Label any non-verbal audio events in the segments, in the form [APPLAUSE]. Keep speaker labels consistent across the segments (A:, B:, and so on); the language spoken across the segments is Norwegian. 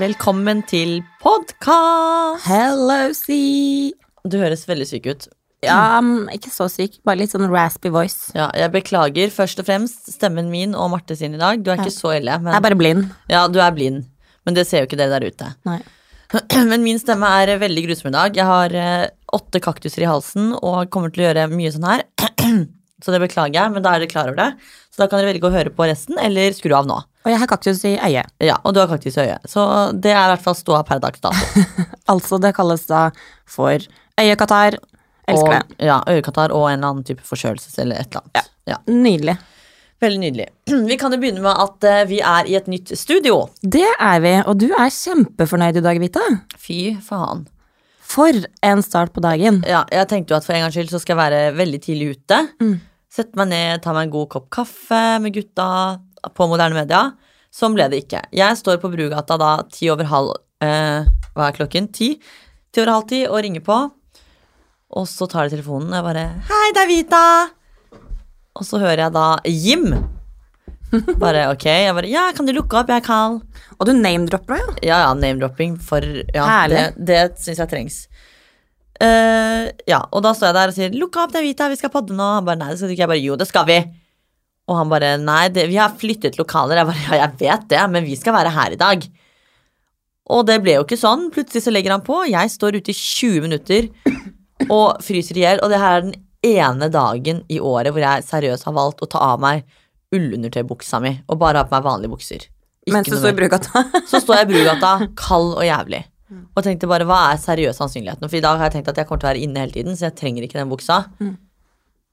A: Velkommen til podkast!
B: Hello, C.
A: Du høres veldig syk ut.
B: Ja, mm, ikke så syk, bare litt sånn raspy voice.
A: Ja, jeg beklager først og fremst stemmen min og Marte sin i dag. Du er ikke så ille.
B: Jeg er
A: Men,
B: bare blind.
A: ja, du er blind, men det ser jo ikke dere der ute. [CLEARS THROAT]
B: Nei.
A: Men min stemme er veldig grusom i dag. Jeg har eh, åtte kaktuser i halsen og kommer til å gjøre mye sånn her. [CLEARS THROAT] Så det beklager jeg, men da er dere klar over det. Så da kan dere velge å høre på resten, eller skru av nå.
B: Og jeg har kaktus i øyet.
A: Ja, Og du har kaktus i øyet. Så det er i hvert fall ståa per dags dato.
B: Altså, det kalles da for øyekatarr. Elsker
A: og, Ja, øyekatarr og en eller annen type forkjølelse eller et eller annet. Ja.
B: det. Nydelig.
A: Veldig nydelig. [CLEARS THROAT] Vi kan jo begynne med at eh, vi er i et nytt studio.
B: Det er vi, og du er kjempefornøyd i dag, Vita.
A: Fy faen.
B: For en start på dagen.
A: Ja, jeg tenkte jo at for en gangs skyld så skal jeg være veldig tidlig ute. Sette meg ned, ta meg en god kopp kaffe med gutta på moderne media. Sånn ble det ikke. Jeg står på Brugata da ti over halv eh, Hva er klokken? Ti? Ti over halv ti og ringer på. Og så tar de telefonen, og jeg bare 'Hei, det er Vita!' Og så hører jeg da Jim. [LAUGHS] Bare ok. Jeg bare 'Ja, kan du lukke opp? Jeg er kald'.
B: Og du name-dropper jo.
A: Ja, ja, name-dropping for ja,
B: Herlig.
A: Det, det syns jeg trengs. Eh, ja, og da står jeg der og sier 'lukk opp, det er Vita, vi skal podde nå'. Han bare 'nei, det skal du ikke'. Jeg bare 'jo, det skal vi'. Og han bare 'nei, det, vi har flyttet lokaler'. Jeg bare 'ja, jeg vet det, men vi skal være her i dag'. Og det ble jo ikke sånn. Plutselig så legger han på. Jeg står ute i 20 minutter og fryser i hjel. Og det her er den ene dagen i året hvor jeg seriøst har valgt å ta av meg ullundertøybuksa mi og bare ha på meg vanlige bukser. Ikke
B: Mens du
A: noe mer.
B: står i brugata. [LAUGHS]
A: Så står jeg i Brugata, kald og jævlig. Og tenkte bare, hva er seriøs sannsynligheten? For i dag har jeg tenkt at jeg kommer til å være inne hele tiden, så jeg trenger ikke den buksa.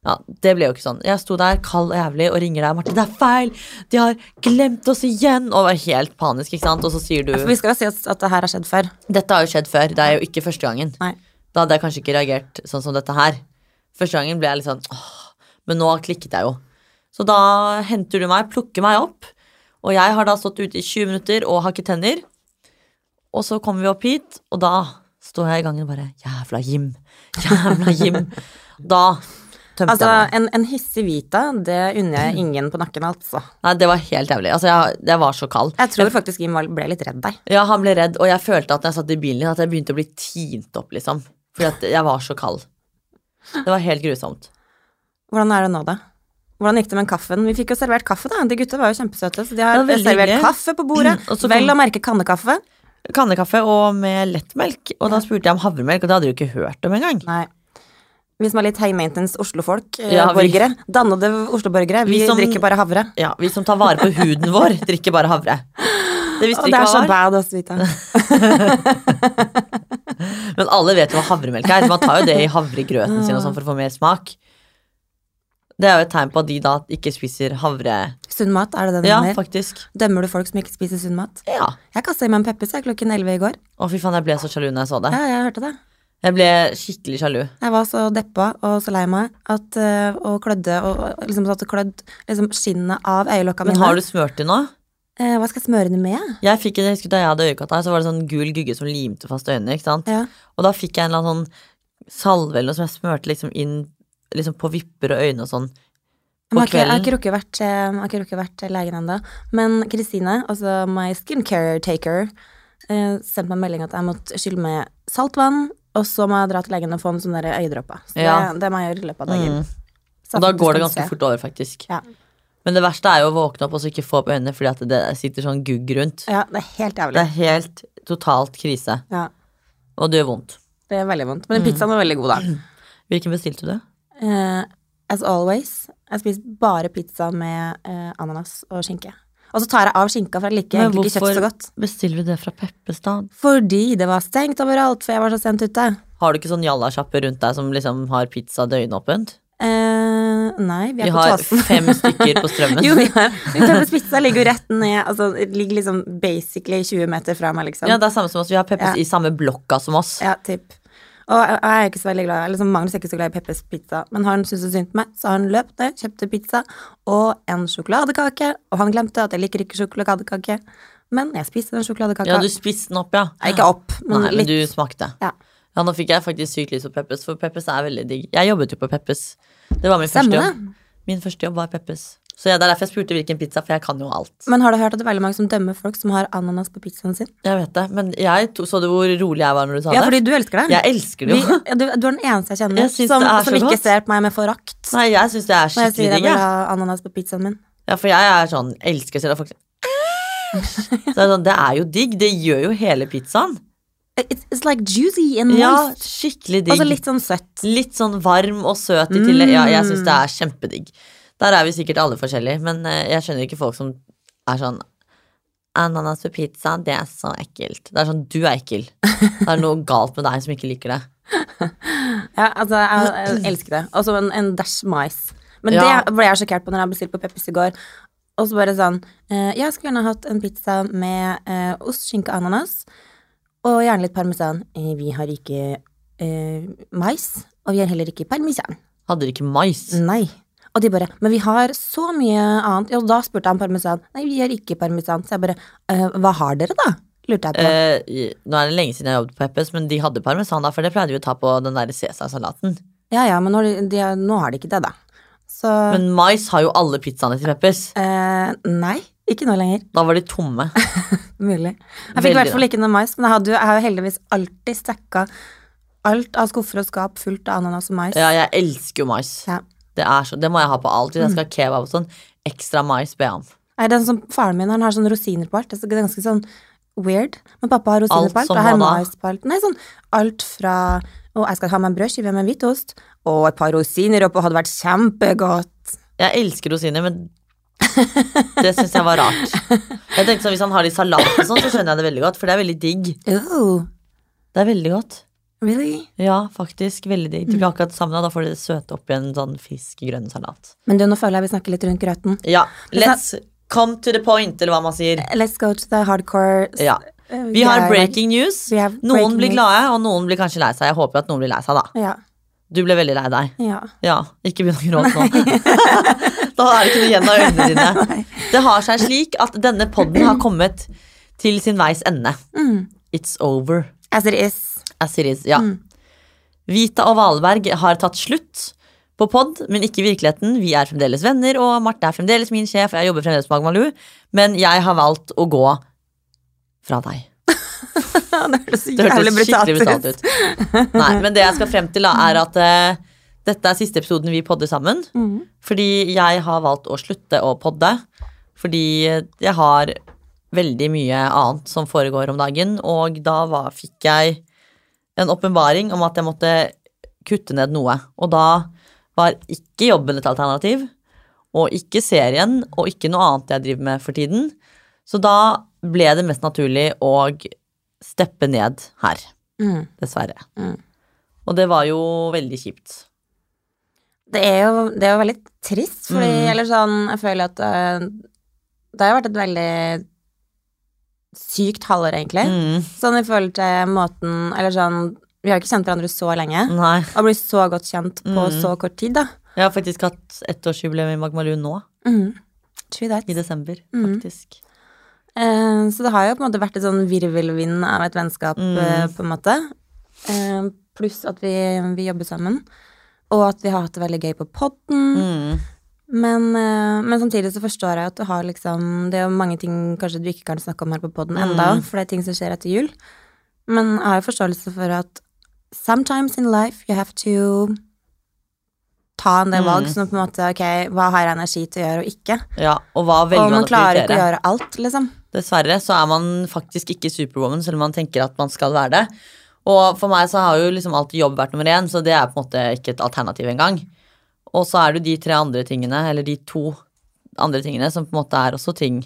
A: Ja, Det ble jo ikke sånn. Jeg sto der kald og jævlig og ringer deg, Marte, det er feil! De har glemt oss igjen! Og var helt panisk, ikke sant? Og så sier du
B: For vi skal jo si at, at det her har skjedd før.
A: Dette har jo skjedd før, det er jo ikke første gangen.
B: Nei.
A: Da hadde jeg kanskje ikke reagert sånn som dette her. Første gangen ble jeg litt sånn åh, men nå klikket jeg jo. Så da henter du meg, plukker meg opp, og jeg har da stått ute i 20 minutter og hakket tenner. Og så kommer vi opp hit, og da står jeg i gangen og bare jævla Jim, jævla Jim. [LAUGHS] Da tømte
B: Altså,
A: jeg meg.
B: en, en hissig Vita, det unner jeg ingen på nakken, altså.
A: Nei, det var helt jævlig. Altså, jeg, jeg var så kald.
B: Jeg tror faktisk Jim var- ble litt redd deg.
A: Ja, han ble redd, og jeg følte at når jeg satt i bilen din, at jeg begynte å bli tint opp, liksom. Fordi at jeg var så kald. Det var helt grusomt.
B: Hvordan er det nå, da? Hvordan gikk det med kaffen? Vi fikk jo servert kaffe, da. De gutta var jo kjempesøte, så de har
A: Det var veldig
B: servert
A: hyggelig.
B: kaffe på bordet.
A: [CLEARS THROAT] Og så
B: Vel
A: kom-
B: å merke kannekaffe.
A: kannekaffe og med lettmelk. Og da spurte jeg om havremelk, og det hadde du ikke hørt om engang.
B: Nei. Vi som er litt high maintenance Oslo-folk, eh,
A: Ja, vi-
B: borgere. Dannede Oslo-borgere. Vi,
A: Vi som-
B: drikker bare havre.
A: Ja, vi som tar vare på huden vår, drikker bare havre. Det
B: Og
A: visste vi
B: det er så
A: ikke hva var,
B: bad ass, Vita.
A: [LAUGHS] men alle vet jo hva havremelk er. Man tar jo det i havregrøten sin og sånn for å få mer smak. Det er jo et tegn på at de da ikke spiser havre
B: Sunn mat, er det det du
A: Ja,
B: mener?
A: faktisk.
B: Dømmer du folk som ikke spiser sunn mat?
A: Ja.
B: Jeg kasta i meg en Peppers jeg, klokken 11 i går.
A: Å, fy faen, jeg ble så sjalu når jeg så det.
B: Ja, jeg hørte det.
A: Jeg ble skikkelig sjalu.
B: Jeg var så deppa og så lei meg at, eh, og klødde og og liksom satt og klødd liksom skinnet av øyelokka mine.
A: Men har du smurt det nå?
B: eh, hva skal jeg smøre det med?
A: Jeg fikk, jeg husker Da jeg hadde øyekatarr, så var det sånn gul gugge som limte fast øynene. ikke sant?
B: Ja.
A: Og da fikk jeg en eller annen sånn salve eller noe som jeg smørte liksom inn liksom på vipper og øyne og sånn. På
B: Men jeg har ikke,
A: kvelden.
B: jeg har ikke rukket vært, eh, jeg har ikke rukket vært legen ennå. Men Kristine, altså my skincare taker, eh, sendte meg en melding at jeg måtte skylle med saltvann, og så må jeg dra til legen og få en sånn der øyedråpe. Så
A: Ja. Mm.
B: det, det må jeg gjøre i løpet av dagen. Så
A: Og da
B: jeg
A: går det
B: faktisk
A: ganske
B: skal
A: fort over, faktisk.
B: se. Ja.
A: Men det verste er jo å våkne opp og så ikke få opp øynene fordi at det sitter sånn gugg rundt.
B: ja, det er helt
A: Det
B: jævlig.
A: er helt totalt krise.
B: Ja,
A: Og det gjør vondt.
B: det er veldig vondt.
A: Mm.
B: Men pizzaen var veldig god, da.
A: Hvilken bestilte du?
B: Eh, as always, jeg spiser bare pizza med eh, ananas og skinke. Og så tar jeg av skinka, for jeg liker
A: Men
B: egentlig ikke kjøtt så
A: hvorfor
B: godt.
A: bestiller du det fra Peppes, da?
B: Fordi det var stengt overalt, for jeg var så sent ute.
A: Har du ikke sånn jallasjappe rundt deg som liksom har pizza døgnåpent?
B: Eh, nei, vi er
A: Vi
B: på
A: har
B: Tåsen.
A: fem stykker på strømmen.
B: [LAUGHS] Jo, vi har. Peppers Pizza ligger jo rett ned, altså ligger liksom basically 20 meter fra meg, liksom.
A: Ja, det er samme som oss. Vi har Peppes
B: Ja.
A: i samme blokka som oss.
B: Ja, typ. Og jeg jeg er ikke så veldig glad eller liksom, Magnus er ikke så glad i Peppers Pizza, men har han syntes det synd på meg, så har han løpt ned, kjøpte pizza og en sjokoladekake, og han glemte at jeg liker ikke sjokoladekake, men jeg spiste den sjokoladekaka.
A: Ja, du spiste den opp, ja.
B: Nei, Ikke opp, men
A: Nei, men
B: litt.
A: du smakte.
B: Ja.
A: Ja, nå fikk jeg faktisk sykt lyst på Peppes, for Peppes er veldig digg. Jeg jobbet jo på Peppes. Det var min første
B: Stemmer
A: jobb. Min første jobb var Peppes. Så jeg, Det er derfor jeg spurte hvilken pizza, for jeg kan jo alt.
B: Men har du hørt at det er veldig mange som dømmer folk som har ananas på pizzaen sin?
A: Jeg vet det, Men jeg to, så du hvor rolig jeg var når du sa
B: Ja,
A: det?
B: fordi du elsker det.
A: Jeg elsker det
B: [LAUGHS] Vi,
A: jo.
B: ja, du, du er den eneste jeg kjenner
A: Jeg syns
B: som,
A: det er så
B: som ikke
A: godt.
B: ser på meg med forakt
A: Nei, jeg syns det er
B: når jeg
A: skikkelig
B: sier jeg
A: digg.
B: vil
A: jeg.
B: ha ananas på pizzaen min.
A: Ja, for jeg er sånn elsker selv at
B: [LAUGHS]
A: folk sier «Æsj!» så er det, sånn, det er jo digg. Det gjør jo hele pizzaen.
B: Eh, It's, it's like juicy and
A: Ja,
B: moist.
A: skikkelig
B: Altså
A: digg.
B: litt sånn søtt.
A: Litt sånn varm og søt i tillegg. Ja, jeg syns det er kjempedigg. Der er vi sikkert alle forskjellige, men eh, jeg skjønner ikke folk som er sånn Ananas på pizza, det er så ekkelt. Det er sånn, du er ekkel. Det er noe galt med deg som ikke liker det.
B: Ja, altså, jeg, jeg elsker det. Og så en, en dash mais. Men
A: Ja.
B: det ble jeg sjokkert på når jeg bestilte på Peppers i går. Og så bare sånn eh, Jeg skulle gjerne hatt en pizza med eh, ost, skinke, ananas. Og gjerne litt parmesan. Eh, vi har ikke eh, mais, og vi har heller ikke parmesan.
A: Hadde dere ikke mais?
B: Nei. Og de bare Men vi har så mye annet. Ja, og da spurte jeg om parmesan. Nei, vi har ikke parmesan. Så jeg bare «Eh, Hva har dere, da? lurte jeg på.
A: Eh, i- nå er det lenge siden jeg jobbet på Peppes, men de hadde parmesan da, for det pleide vi å ta på den der Cæsar-salaten.
B: Ja ja, men nå, har de, de, har- nå har de ikke det, da. Så
A: Men mais har jo alle pizzaene til Peppes.
B: eh, Nei, ikke nå lenger.
A: Da var de tomme.
B: Mulig. Jeg fikk i
A: Veldig
B: hvert fall ikke noe mais, men jeg, hadde, jo- jeg har jo heldigvis alltid stakka alt av skuffer og skap fullt av ananas og mais.
A: Ja, jeg elsker jo mais.
B: Ja.
A: Det, er så, det må jeg ha på alt. Hvis jeg skal ha kebab og sånn, ekstra mais ber jeg om.
B: Nei, den som Faren min han har sånn rosiner på alt. Det er så- det er ganske sånn weird. Men pappa har rosiner
A: Alt
B: på alt,
A: som
B: og jeg har
A: hva da?
B: mais på alt. Nei, sånn alt fra Å, jeg skal ha meg en brødskive med hvitost, og et par rosiner oppå, hadde vært kjempegodt.
A: Jeg elsker rosiner, men det syns jeg var rart. Jeg tenkte sånn, Hvis han har det i salat og sånn, så skjønner jeg det veldig godt, for det er veldig digg. Oh,
B: Ooh,
A: Det er veldig godt.
B: really?
A: Ja, faktisk. Veldig digg. Du blir akkurat sammen, og da får du det søte oppi en sånn fisk-grønn salat.
B: Men du, nå føler jeg vi snakker litt rundt grøten.
A: Ja, let's come to the point, eller hva man sier.
B: Let's go to the hardcore s-
A: Ja.
B: eh,
A: Vi har
B: greier.
A: breaking news.
B: Vi har breaking
A: Noen blir
B: news.
A: glade, og noen blir kanskje lei seg. Jeg håper at noen blir lei seg, da.
B: Ja.
A: Du ble veldig lei deg.
B: ja.
A: Ja, ikke begynn å gråte nå. [LAUGHS] da er det ikke noe igjen av øynene
B: [LAUGHS]
A: dine. Det har seg slik at denne podden har kommet til sin veis ende.
B: Mm.
A: It's over,
B: As it [LAUGHS] is.
A: as it is.
B: Mm.
A: Ja. Vita og Valberg har tatt slutt på pod, men ikke i virkeligheten. Vi er fremdeles venner, og Marte er fremdeles min sjef, og jeg jobber fremdeles på Agmaloo, men jeg har valgt å gå fra deg.
B: det hørtes så
A: [LAUGHS] Det
B: jævlig
A: hørtes
B: brutalt
A: skikkelig
B: ut.
A: brutalt ut. Nei, men det jeg skal frem til, da, er at eh, dette er siste episoden vi podder sammen.
B: Mm.
A: Fordi jeg har valgt å slutte å podde. Fordi jeg har veldig mye annet som foregår om dagen, og da var, fikk jeg en åpenbaring om at jeg måtte kutte ned noe. Og da var ikke jobben et alternativ, og ikke serien, og ikke noe annet jeg driver med for tiden. Så da ble det mest naturlig å steppe ned her,
B: Mm.
A: dessverre.
B: Mm.
A: Og det var jo veldig kjipt.
B: Det er jo, det er jo veldig trist, fordi
A: Mm.
B: eller sånn, jeg føler at øh, det har jo vært et veldig sykt halvår, egentlig.
A: Mm.
B: Sånn i forhold til måten Eller sånn Vi har jo ikke kjent hverandre så lenge.
A: Nei.
B: Og blir så godt kjent på
A: Mm.
B: så kort tid, da.
A: Jeg har faktisk hatt ettårsjubileum i Magmaloo nå,
B: Mm. True that.
A: i desember,
B: Mm.
A: faktisk.
B: Eh, så det har jo på en måte vært et sånn virvelvind av et vennskap,
A: Mm.
B: eh, på en måte. Eh, pluss at vi, vi jobber sammen. Og at vi har hatt det veldig gøy på podden.
A: Mm.
B: Men, eh, men samtidig så forstår jeg at du har liksom Det er jo mange ting kanskje du ikke kan snakke om her på poden
A: Mm.
B: enda, for det er ting som skjer etter jul. Men jeg har jo forståelse for at sometimes in life you have to ta en del
A: Mm.
B: valg som på en måte Ok, hva har jeg energi til å gjøre og ikke?
A: Ja, og hva
B: Og
A: velger man
B: man
A: å
B: klarer ikke å
A: prioritere?
B: gjøre alt, liksom.
A: Dessverre så er man faktisk ikke superwoman, selv om man tenker at man skal være det. Og for meg så har jo liksom alltid jobb vært nummer én, så det er på en måte ikke et alternativ engang. Og så er det jo de tre andre tingene, eller de to andre tingene, som på en måte er også ting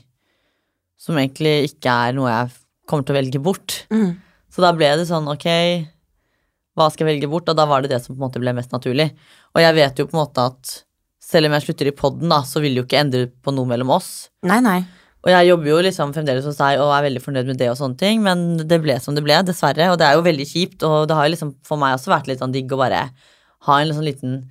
A: som egentlig ikke er noe jeg kommer til å velge bort.
B: Mm.
A: Så da ble det sånn, ok, hva skal jeg velge bort? Og da var det det som på en måte ble mest naturlig. Og jeg vet jo på en måte at selv om jeg slutter i podden da, så vil det jo ikke endre på noe mellom oss.
B: Nei, nei.
A: Og jeg jobber jo liksom fremdeles hos deg og er veldig fornøyd med det og sånne ting, men det ble som det ble, dessverre. Og det er jo veldig kjipt, og det har jo liksom for meg også vært litt sånn digg å bare ha en liksom liten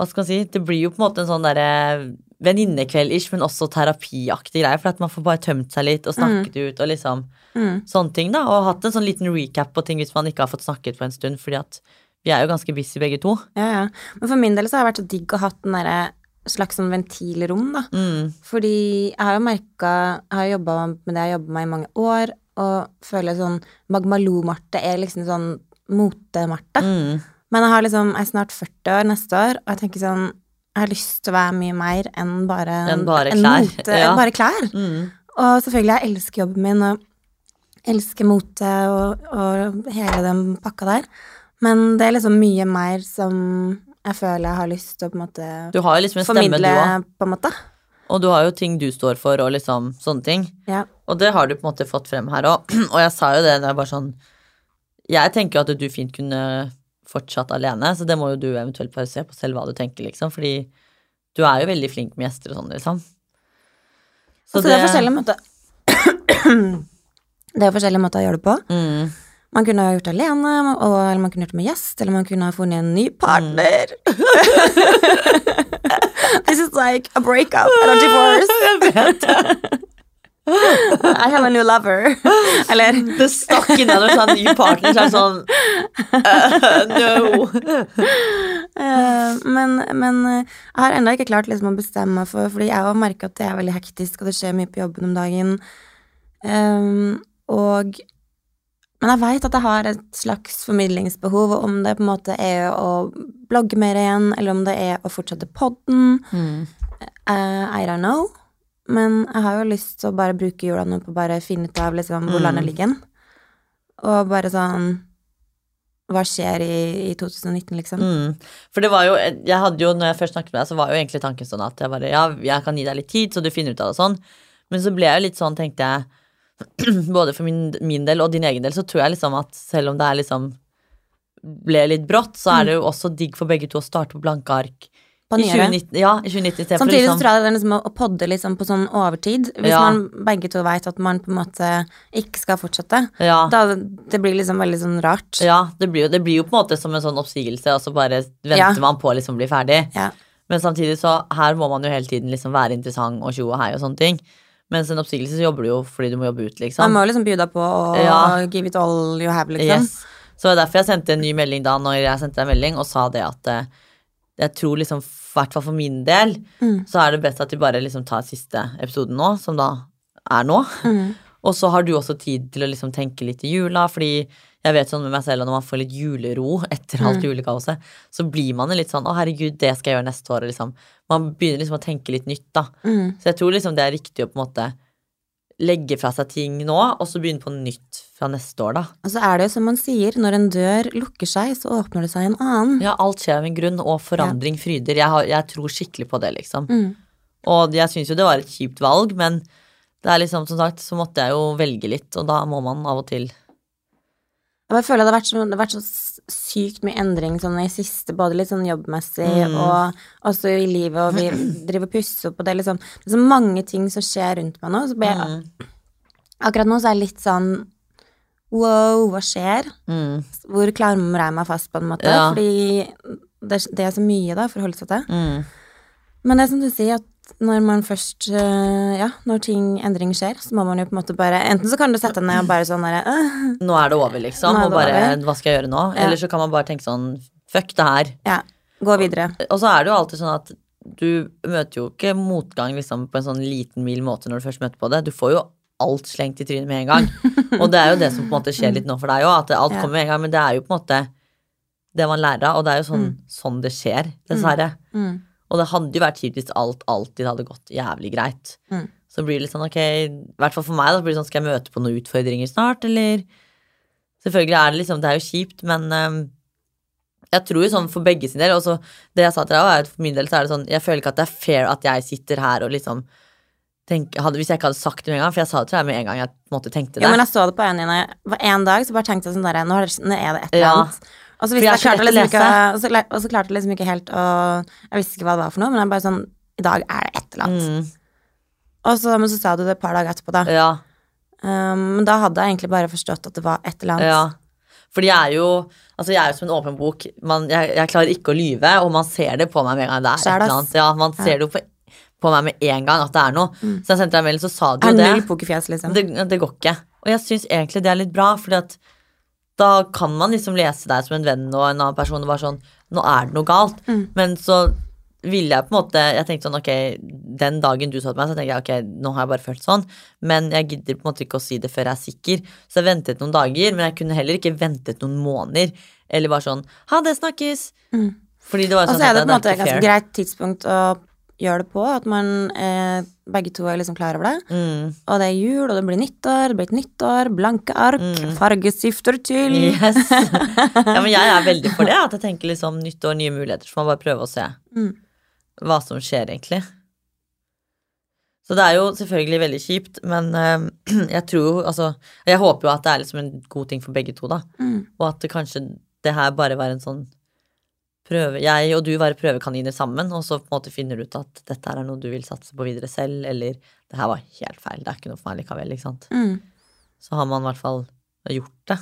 A: Hva skal man si? Det blir jo på en måte en sånn derre venninnekveld-ish, men også terapiaktig greie, for at man får bare tømt seg litt og snakket ut og liksom
B: Mm.
A: sånne ting, da. Og hatt en sånn liten recap på ting hvis man ikke har fått snakket på en stund, fordi at vi er jo ganske busy begge to.
B: Ja, ja. Men for min del så har det vært så digg å ha den derre slags sånn ventilrom, da.
A: Mm.
B: Fordi jeg har jo merka Jeg har jobba med det jeg har jobba med i mange år, og føler sånn Magmaloo-Marte er liksom sånn mote-Marte.
A: Mm.
B: Men jeg har liksom Jeg er snart 40 år neste år, og jeg tenker sånn Jeg har lyst til å være mye mer enn bare
A: Enn bare
B: enn
A: klær,
B: Mote,
A: ja.
B: Bare klær.
A: Mm.
B: Og selvfølgelig, jeg elsker jobben min, og elsker mote og, og hele den pakka der. Men det er liksom mye mer som jeg føler jeg har lyst til å på en måte
A: Du har jo liksom en stemme,
B: formidle,
A: du òg.
B: på en måte.
A: Og du har jo ting du står for, og liksom sånne ting.
B: Ja.
A: Og det har du på en måte fått frem her òg. [CLEARS THROAT] Og jeg sa jo det da jeg bare sånn Jeg tenker jo at du fint kunne fortsatt alene, så det må jo du eventuelt bare se på selv hva du tenker, liksom. Fordi du er jo veldig flink med gjester og sånn, liksom.
B: Så altså, det, er forskjellige måter [CLEARS THROAT] Det er forskjellige måter å gjøre det på.
A: Mm,
B: Man kunne ha gjort det alene, og, eller man kunne gjort det med gjest, eller man kunne ha funnet en ny partner. [LAUGHS] This is like a breakup and a [LAUGHS] divorce. [LAUGHS] I have a new lover. [LAUGHS] Eller
A: det stakk inn en sånn ny partner, så er det sånn [LAUGHS] øh, No.
B: Eh, men, men eh, jeg har ennå ikke klart liksom, å bestemme meg for Fordi jeg har merka at det er veldig hektisk, og det skjer mye på jobben om dagen. Ehm, og Men jeg veit at jeg har et slags formidlingsbehov, og om det på en måte er å blogge mer igjen, eller om det er å fortsette podden,
A: Mm.
B: eh, I don't know. Men jeg har jo lyst til å bare bruke jula nå på å bare finne ut av liksom, hvor
A: Mm.
B: landet ligger. hen. Og bare sånn Hva skjer i, i 2019, liksom?
A: Mm. For det var jo, jeg hadde jo, når jeg først snakket med deg, så var jo egentlig tanken sånn at jeg bare, ja, jeg kan gi deg litt tid, så du finner ut av det og sånn. Men så ble jeg jo litt sånn, tenkte jeg, [CLEARS THROAT] både for min, min del og din egen del, så tror jeg liksom at selv om det er liksom, ble litt brått, så er det jo også digg for begge to å starte på blanke ark.
B: Mm. På
A: I
B: nyere.
A: 2019, ja, i 2019 i stedet for
B: Samtidig så
A: liksom.
B: tror jeg det er liksom å- å podde liksom på sånn overtid. Hvis
A: Ja.
B: man begge to vet at man på en måte ikke skal fortsette.
A: Ja,
B: Da det blir liksom veldig sånn rart.
A: ja det, blir jo, det blir jo på en måte som en sånn oppsigelse, og så bare venter
B: Ja.
A: man på å liksom bli ferdig.
B: Ja.
A: Men samtidig så her må man jo hele tiden liksom være interessant og tjo og hei og sånne ting. Mens en oppsigelse så jobber du jo fordi du må jobbe ut,
B: Man
A: liksom.
B: må jo liksom bjuda på og
A: Ja.
B: give it all you have, liksom.
A: Yes. Så det er derfor jeg sendte en ny melding da når jeg sendte deg en melding og sa det at eh, jeg tror liksom, i hvert fall for min del,
B: Mm.
A: så er det best at vi bare liksom tar siste episoden nå, som da er nå.
B: Mm.
A: Og så har du også tid til å liksom tenke litt i jula, fordi jeg vet sånn med meg selv at når man får litt julero etter alt
B: Mm.
A: julekaoset, så blir man jo litt sånn 'Å, herregud, det skal jeg gjøre neste år', og liksom. Man begynner liksom å tenke litt nytt, da.
B: Mm.
A: Så jeg tror liksom det er riktig å på en måte legge fra seg ting nå, og så begynne på nytt fra neste år, da.
B: Og så er det jo som man sier, når en dør lukker seg, så åpner det seg en annen.
A: Ja, alt skjer av en grunn, og forandring fryder. Jeg, har, jeg tror skikkelig på det, liksom.
B: Mm.
A: Og jeg syns jo det var et kjipt valg, men det er liksom, som sagt, så måtte jeg jo velge litt, og da må man av og til.
B: Jeg bare føler at det har vært så, det har vært så s- sykt mye endring sånn i siste, både litt sånn jobbmessig
A: Mm.
B: og også i livet, og vi driver og pusser opp, og det er liksom det er så mange ting som skjer rundt meg nå. Så blir jeg
A: Mm.
B: Akkurat nå så er jeg litt sånn Wow, hva skjer?
A: Mm.
B: Hvor klamrer jeg meg fast, på en måte?
A: Ja.
B: Fordi det, er- det er så mye da, for å holde seg til.
A: Mm.
B: Men det er som du sier, at når man først øh, Ja, når ting, endring skjer, så må man jo på en måte bare Enten så kan du sette deg ned og bare sånn derre øh,
A: Nå er det over, liksom.
B: Nå er
A: Og
B: det
A: bare
B: over.
A: Hva skal jeg gjøre nå?
B: Ja.
A: Eller så kan man bare tenke sånn Fuck det her.
B: Ja, gå videre.
A: Og så er det jo alltid sånn at du møter jo ikke motgang liksom, på en sånn liten, mild måte når du først møter på det. Du får jo alt slengt i trynet med en gang. Og det er jo det som på en måte skjer litt nå for deg òg, at alt
B: Ja.
A: kommer med en gang. Men det er jo på en måte det man lærer av, og det er jo sånn, sånn det skjer, dessverre.
B: Mm.
A: Og det hadde jo vært kjipt hvis alt alltid hadde gått jævlig greit.
B: Mm.
A: Så blir det litt sånn, ok, i hvert fall for meg, da så blir det sånn, skal jeg møte på noen utfordringer snart, eller Selvfølgelig er det liksom, det er jo kjipt, men ehm, jeg tror jo sånn for begge sin del, og så det jeg sa til deg, var at for min del så er det sånn, jeg føler ikke at det er fair at jeg sitter her og liksom tenker, hadde, Hvis jeg ikke hadde sagt det med en gang, for jeg sa det til deg med en gang jeg på en måte tenkte det.
B: Jo, men jeg så det på øynene dine. Hva- En dag så bare tenkte jeg sånn derre Nå er det, nå er det et eller
A: Ja.
B: annet. Og så, visste
A: jeg er
B: jeg
A: så lett
B: klarte
A: å
B: liksom ikke,
A: lese.
B: og, så, le- og så klarte jeg liksom ikke helt å Jeg visste ikke hva det var for noe, men jeg bare sånn I dag er det et eller annet.
A: mm,
B: Og så, men så sa du det et par dager etterpå, da.
A: ja,
B: Um, men da hadde jeg egentlig bare forstått at det var et eller annet.
A: ja. Fordi jeg er jo altså jeg er jo som en åpen bok. Man, jeg, jeg klarer ikke å lyve, og man ser det på meg med en gang. Det er et
B: Skjer det,
A: eller
B: ass?
A: annet. Ja, man ser det jo på, på meg med en gang at det er noe. Så jeg sendte deg en melding, så sa du
B: Jeg
A: jo
B: har
A: det.
B: null pokerfjes, liksom.
A: Det, det går ikke. Og jeg syns egentlig det er litt bra, fordi at da
B: Mm.
A: kan man liksom lese deg som en venn og en annen person og bare sånn Nå er det noe galt. Men så ville jeg på en måte Jeg tenkte sånn, ok, den dagen du sa til meg, så tenker jeg ok, nå har jeg bare følt sånn, men jeg gidder på en måte ikke å si det før jeg er sikker. Så jeg ventet noen dager, men jeg kunne heller ikke ventet noen måneder. Eller bare sånn ha det, snakkes. Fordi det var
B: Mm. Og
A: sånn
B: så er det på en
A: at
B: måte
A: det
B: et
A: er ikke
B: ganske
A: fair.
B: greit tidspunkt å gjøre det på, at man eh, begge to er liksom klar over det.
A: Mm.
B: Og det er jul, og det blir nyttår, det blir et nyttår, blanke ark,
A: Mm.
B: fargestifter til. [LAUGHS]
A: Yes. ja, men jeg er veldig for det. At jeg tenker liksom nytt år, nye muligheter. Så får man bare prøve å se
B: Mm.
A: hva som skjer, egentlig. Så det er jo selvfølgelig veldig kjipt, men eh, [CLEARS THROAT] jeg tror jo altså Jeg håper jo at det er liksom en god ting for begge to, da.
B: Mm.
A: Og at det kanskje det her bare var en sånn prøve Jeg og du være prøvekaniner sammen, og så på en måte finner du ut at dette her er noe du vil satse på videre selv, eller det her var helt feil, det er ikke noe for meg likevel, ikke sant.
B: Mm.
A: Så har man i hvert fall gjort det.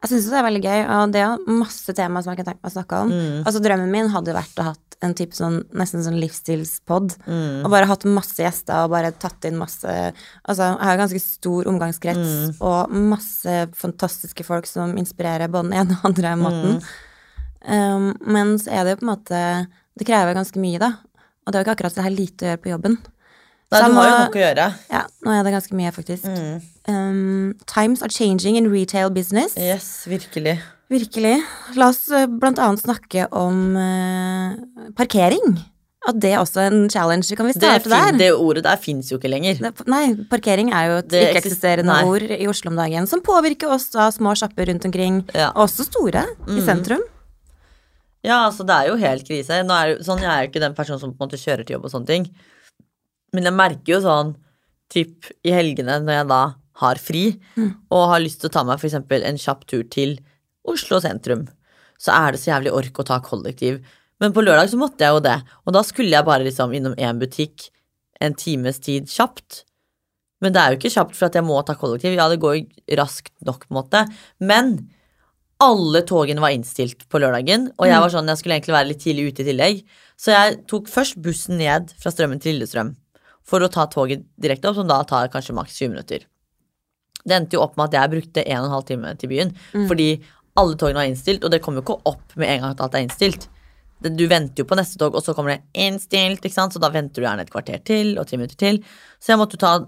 B: Jeg syns det er veldig gøy, og det er masse tema som jeg kan tenke meg å snakke om.
A: Mm.
B: Altså Drømmen min hadde jo vært å hatt en type sånn, nesten sånn livsstilspod.
A: Mm.
B: Og bare hatt masse gjester og bare tatt inn masse Altså, jeg har ganske stor omgangskrets
A: Mm.
B: og masse fantastiske folk som inspirerer både den ene og den andre måten.
A: Mm.
B: Um, men så er det jo på en måte Det krever ganske mye, da. Og det er jo ikke akkurat så jeg har lite å gjøre på jobben.
A: Nei,
B: Så jeg
A: du har jo
B: må-
A: nok Mm. å gjøre.
B: Ja, nå er det ganske mye, faktisk. Um, times are changing in retail business.
A: Yes, virkelig.
B: Virkelig. La oss eh, blant annet snakke om eh, parkering. At det er også en challenge. Kan vi
A: Det,
B: starte
A: fin,
B: der?
A: det ordet der fins jo ikke lenger.
B: Det- Nei, parkering er jo et
A: Det
B: ikke-eksisterende
A: eksist- nei.
B: ord i Oslo om dagen, som påvirker oss da, små sjapper rundt omkring,
A: Ja. Mm.
B: og også store i sentrum.
A: Ja, altså det er jo helt krise. Nå er, jo- sånn, jeg er jo ikke den personen som på en måte kjører til jobb og sånne ting. Men jeg merker jo sånn typ i helgene når jeg da har fri, og har lyst til å ta meg for eksempel en kjapp tur til Oslo sentrum, så er det så jævlig ork å ta kollektiv. Men på lørdag så måtte jeg jo det, og da skulle jeg bare liksom innom én butikk en times tid kjapt. Men det er jo ikke kjapt for at jeg må ta kollektiv. Ja, det går jo raskt nok, på en måte. Men alle togene var innstilt på lørdagen, og jeg var sånn, jeg skulle egentlig være litt tidlig ute i tillegg. Så jeg tok først bussen ned fra Strømmen til Lillestrøm for å ta toget direkte opp, som da tar kanskje maks 20 minutter. Det endte jo opp med at jeg brukte 1 12 time til byen, fordi alle togene var innstilt, og det kommer jo ikke opp med en gang at alt er innstilt. Det- Du venter jo på neste tog, og så kommer det innstilt, ikke sant? så da venter du gjerne et kvarter til, og ti minutter til. Så jeg måtte jo ta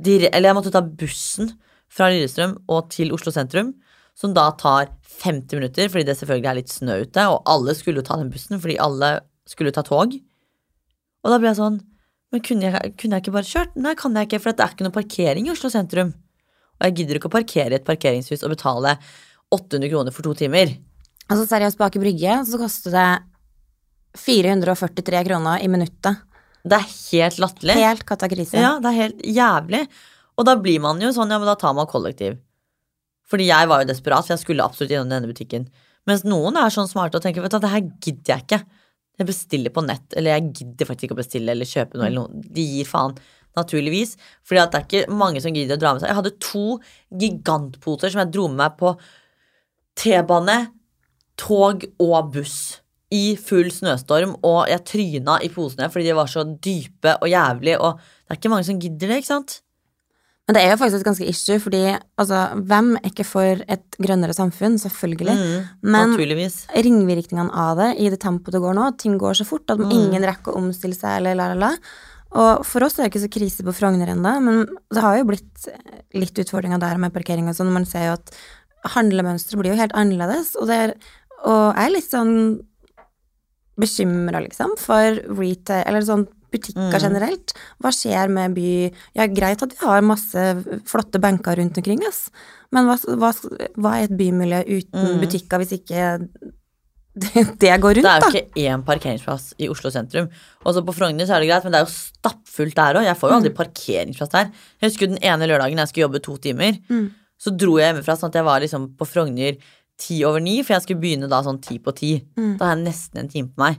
A: dire, eller jeg måtte ta bussen fra Lillestrøm og til Oslo sentrum, som da tar 50 minutter, fordi det selvfølgelig er litt snø ute, og alle skulle jo ta den bussen, fordi alle skulle ta tog. Og da ble jeg sånn, men kunne jeg, kunne jeg ikke bare kjørt? Nei, kan jeg ikke, for det er ikke noe parkering i Oslo sentrum. Og jeg gidder ikke å parkere i et parkeringshus og betale 800 kroner for to timer.
B: Altså seriøst, på Aker Brygge så koster det 443 kroner i minuttet.
A: Det er helt latterlig.
B: Helt katakrise.
A: Ja, det er helt jævlig. Og da blir man jo sånn, ja, men da tar man kollektiv. Fordi jeg var jo desperat, for jeg skulle absolutt innom denne butikken. Mens noen er sånn smarte og tenker, vet du, hva, det her gidder jeg ikke. Jeg bestiller på nett, eller jeg gidder faktisk ikke å bestille eller kjøpe noe, eller noe. De gir faen, naturligvis. Fordi at det er ikke mange som gidder å dra med seg. Jeg hadde to gigantposer som jeg dro med meg på T-bane, tog og buss. I full snøstorm, og jeg tryna i posene fordi de var så dype og jævlig. Og det er ikke mange som gidder det, ikke sant?
B: Men det er jo faktisk et ganske issue, fordi altså, hvem er ikke for et grønnere samfunn? Selvfølgelig. Men
A: Mm, Naturligvis.
B: ringvirkningene av det i det tempoet det går nå, ting går så fort at ingen rekker å omstille seg, eller la, la, la. Og for oss er det ikke så krise på Frogner ennå, men det har jo blitt litt utfordringer der med parkering og sånn. Man ser jo at handlemønsteret blir jo helt annerledes, og, det er, og jeg er litt sånn bekymra, liksom, for retail, eller sånn butikker generelt. Hva skjer med by Ja, greit at vi har masse flotte benker rundt omkring, ass, men hva, hva, hva er et bymiljø uten butikker hvis ikke [LAUGHS] det, det går
A: Det er
B: rundt,
A: jo
B: da?
A: ikke én parkeringsplass i Oslo sentrum. Også på Frogner så er det greit, men det er jo stappfullt der òg. Jeg får jo
B: Mm.
A: aldri parkeringsplass der. Jeg husker den ene lørdagen jeg skulle jobbe to timer,
B: Mm.
A: så dro jeg hjemmefra sånn at jeg var liksom på Frogner ti over ni, for jeg skulle begynne da sånn ti på ti.
B: Mm.
A: Da har jeg nesten en time på meg.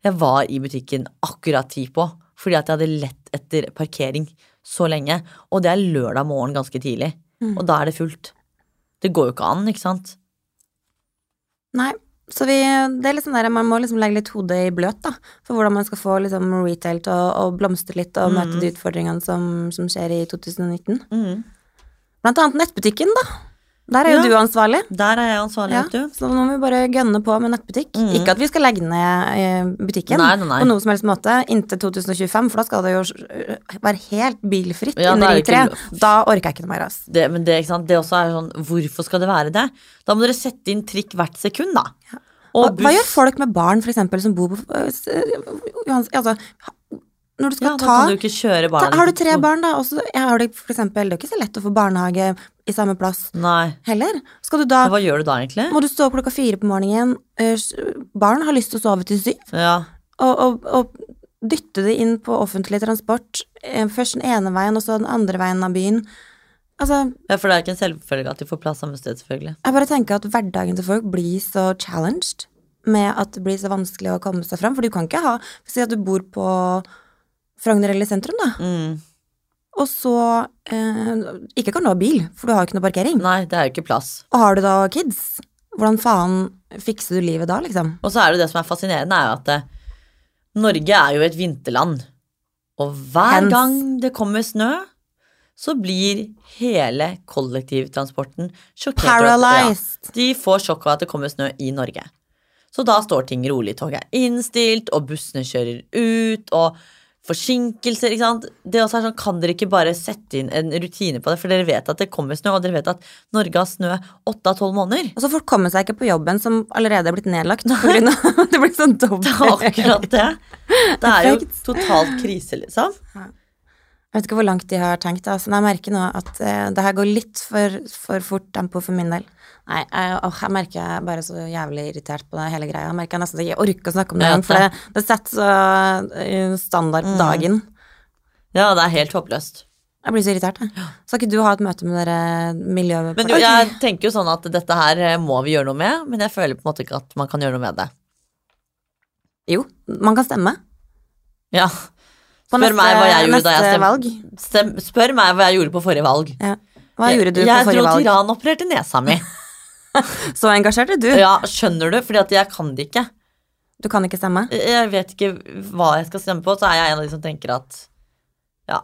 A: Jeg var i butikken akkurat ti på, fordi at jeg hadde lett etter parkering så lenge. Og det er lørdag morgen ganske tidlig,
B: Mm.
A: og da er det fullt. Det går jo ikke an, ikke sant?
B: Nei. Så vi, det er liksom der, man må liksom legge litt hodet i bløt, da, for hvordan man skal få liksom retail til å, å blomstre litt og
A: Mm.
B: møte de Mm. utfordringene som, som skjer i 2019. Blant annet nettbutikken, da. Der er
A: Ja.
B: jo du ansvarlig.
A: Der er jeg ansvarlig,
B: Ja,
A: vet du.
B: så nå må vi bare gønne på med nettbutikk.
A: Mhm.
B: Ikke at vi skal legge ned eh, butikken
A: Nei, nei, nei.
B: på noen som helst måte inntil 2025, for da skal det jo eh, være helt bilfritt
A: Ja, da
B: under
A: er
B: Ring
A: det
B: 3.
A: ikke
B: Da orker jeg ikke noe mer, ass.
A: Det, men det, ikke sant? det også er sånn, hvorfor skal det være det? Da må dere sette inn trikk hvert sekund, da.
B: Hva,
A: Og
B: hva gjør
A: buss.
B: folk med barn, for eksempel, som bor på eh, s- eh, Johans- altså, ha- Når du skal
A: Ja, da
B: ta
A: kan du ikke liksom. kjøre
B: ta,
A: barna
B: Har du
A: dine på
B: tre
A: skolen.
B: barn, da, og så ja, har du for eksempel Det er jo ikke så lett å få barnehage i samme plass
A: Nei.
B: heller. Skal du da
A: Hva gjør du da, egentlig?
B: Må du stå opp klokka fire på morgenen. eh, s- Barn har lyst til å sove til syv.
A: Ja.
B: og, og, og dytte det inn på offentlig transport. eh, Først den ene veien, og så den andre veien av byen. Altså,
A: ja, for det er ikke en selvfølge at de får plass samme sted, selvfølgelig.
B: jeg bare tenker at hverdagen til folk blir så challenged med at det blir så vanskelig å komme seg fram. For du kan ikke ha Si at du bor på Frogner eller sentrum, da.
A: Mm.
B: Og så eh, ikke kan du ha bil, for du har jo ikke noe parkering.
A: Nei, det er jo ikke plass.
B: Og har du da kids, hvordan faen fikser du livet da, liksom?
A: Og så er det jo det som er fascinerende, er jo at eh, Norge er jo et vinterland. Og hver
B: Hens.
A: gang det kommer snø, så blir hele kollektivtransporten sjokkert. over at-
B: Paralyzed.
A: Ja, de får sjokk av at det kommer snø i Norge. Så da står ting rolig. Toget er innstilt, og bussene kjører ut, og forsinkelser, ikke sant. Det også er sånn, kan dere ikke bare sette inn en rutine på det, for dere vet at det kommer snø, og dere vet at Norge har snø åtte av tolv måneder. [LAUGHS]
B: Og så Altså, folk kommer seg ikke på jobben som allerede er blitt nedlagt. På grunn av, det blir sånn dobbelt.
A: Det er akkurat det. Det er jo
B: Perfekt.
A: totalt krise, liksom.
B: Jeg vet ikke hvor langt de har tenkt. Altså. Men Jeg merker nå at eh, det her går litt for, for fort tempo for min del. Nei, jeg, åh, jeg merker jeg er bare så jævlig irritert på det hele greia. Jeg merker jeg nesten ikke orker å snakke om det
A: Jeg
B: engang,
A: vet Mm.
B: for det, det setter så eh, standard på dagen.
A: Ja, det er helt håpløst.
B: Jeg blir så irritert, jeg. Skal ikke du ha et møte med dere miljøet?
A: Men jo, jeg tenker jo sånn at dette her eh, må vi gjøre noe med, men jeg føler på en måte ikke at man kan gjøre noe med det.
B: Jo, man kan stemme.
A: Ja.
B: På
A: Spør meg hva jeg gjorde
B: neste
A: da jeg stemte.
B: valg.
A: Stem, spør meg hva jeg gjorde på forrige valg.
B: Ja. Hva gjorde du
A: jeg,
B: på
A: Jeg
B: forrige
A: dro
B: valg?
A: tyranopererte nesa
B: [LAUGHS]
A: mi.
B: Så engasjert er du.
A: Ja, skjønner du? Fordi at jeg kan det ikke.
B: Du kan ikke stemme.
A: Jeg vet ikke hva jeg skal stemme på, så er jeg en av de som tenker at ja,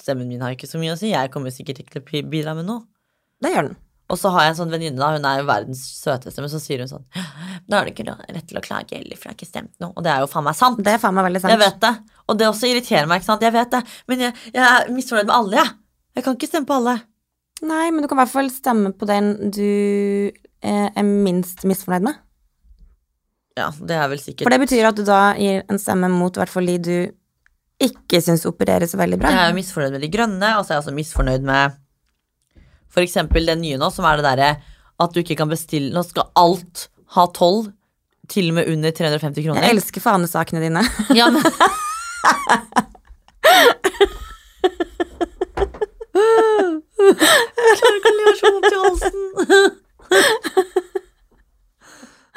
A: stemmen min har ikke så mye å si, jeg kommer sikkert ikke til å bidra med noe.
B: Det gjør den.
A: Og så har jeg en sånn venninne, da, hun er jo verdens søteste, men så sier hun sånn Da har du ikke rett til å klage heller, for jeg har ikke stemt noe. Og det er jo faen meg sant.
B: Det er faen meg veldig sant.
A: Jeg vet det. Og det også irriterer meg, ikke sant. Jeg vet det. Men jeg, jeg er misfornøyd med alle, jeg. Jeg kan ikke stemme på alle.
B: Nei, men du kan i hvert fall stemme på den du eh, er minst misfornøyd med.
A: Ja, det er vel sikkert
B: For det betyr at du da gir en stemme mot i hvert fall de du ikke syns opererer så veldig bra.
A: Jeg er jo misfornøyd med de grønne, og så er jeg også misfornøyd med for eksempel den nye nå, som er det derre at du ikke kan bestille Nå skal alt ha tolv, til og med under 350 kroner.
B: Jeg elsker fanesakene dine.
A: Ja, men... Klarer ikke å le, jeg har så vondt i halsen.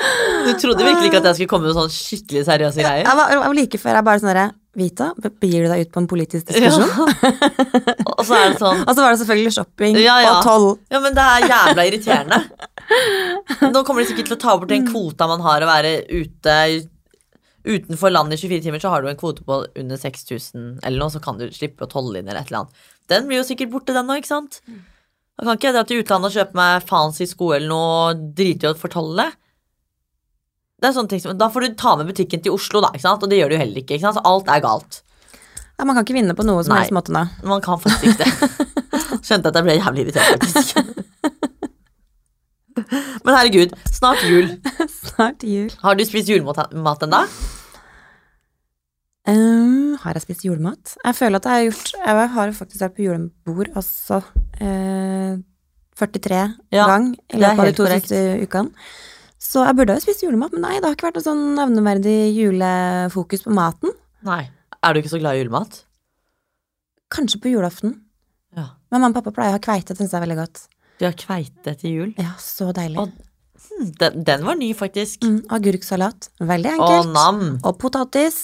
A: Du trodde virkelig ikke at jeg skulle komme med sånn skikkelig seriøse greier?
B: [LAUGHS] Jeg var, jeg var like før jeg bare sånn derre Vita, begir du deg ut på en politisk
A: Ja.
B: diskusjon?
A: Og så er det sånn
B: Og så var det selvfølgelig shopping
A: Ja, ja.
B: og toll.
A: Ja, men det er jævla irriterende. Nå kommer de sikkert til å ta bort den kvota man har å være ute i- utenfor landet i 24 timer, så har du en kvote på under 6000 eller noe, så kan du slippe å tolle inn eller et eller annet. Den blir jo sikkert borte, den nå, ikke sant? Da kan ikke jeg dra til utlandet og kjøpe meg fancy sko eller noe og drite i å fortolle. Det er sånne ting som, Da får du ta med butikken til Oslo, da, ikke sant? og det gjør du jo heller ikke. ikke sant? Så alt er galt.
B: Ja, man kan ikke vinne på noe som
A: Nei.
B: helst måte nå. [LAUGHS]
A: Man kan faktisk ikke det. [LAUGHS] Skjønte at jeg ble jævlig irritert, faktisk. Men herregud, snart jul.
B: Snart jul.
A: Har du spist julemat ennå?
B: Eh, har jeg spist julemat? Jeg føler at jeg har gjort Jeg har jo faktisk vært på julebord også eh, 43
A: Ja,
B: gang i
A: det er
B: løpet av de
A: helt
B: to
A: korrekt.
B: siste ukene. Så jeg burde ha spist julemat, men nei, det har ikke vært noe sånn nevneverdig julefokus på maten.
A: Nei. Er du ikke så glad i julemat?
B: Kanskje på julaften.
A: Ja.
B: Men mamma og pappa pleier å ha kveite, syns jeg er veldig godt.
A: De har kveite til jul.
B: Ja, så deilig.
A: Å, Hm, Den, den var ny, faktisk.
B: Mm, agurksalat. Veldig
A: Å,
B: enkelt.
A: nam.
B: og potatis.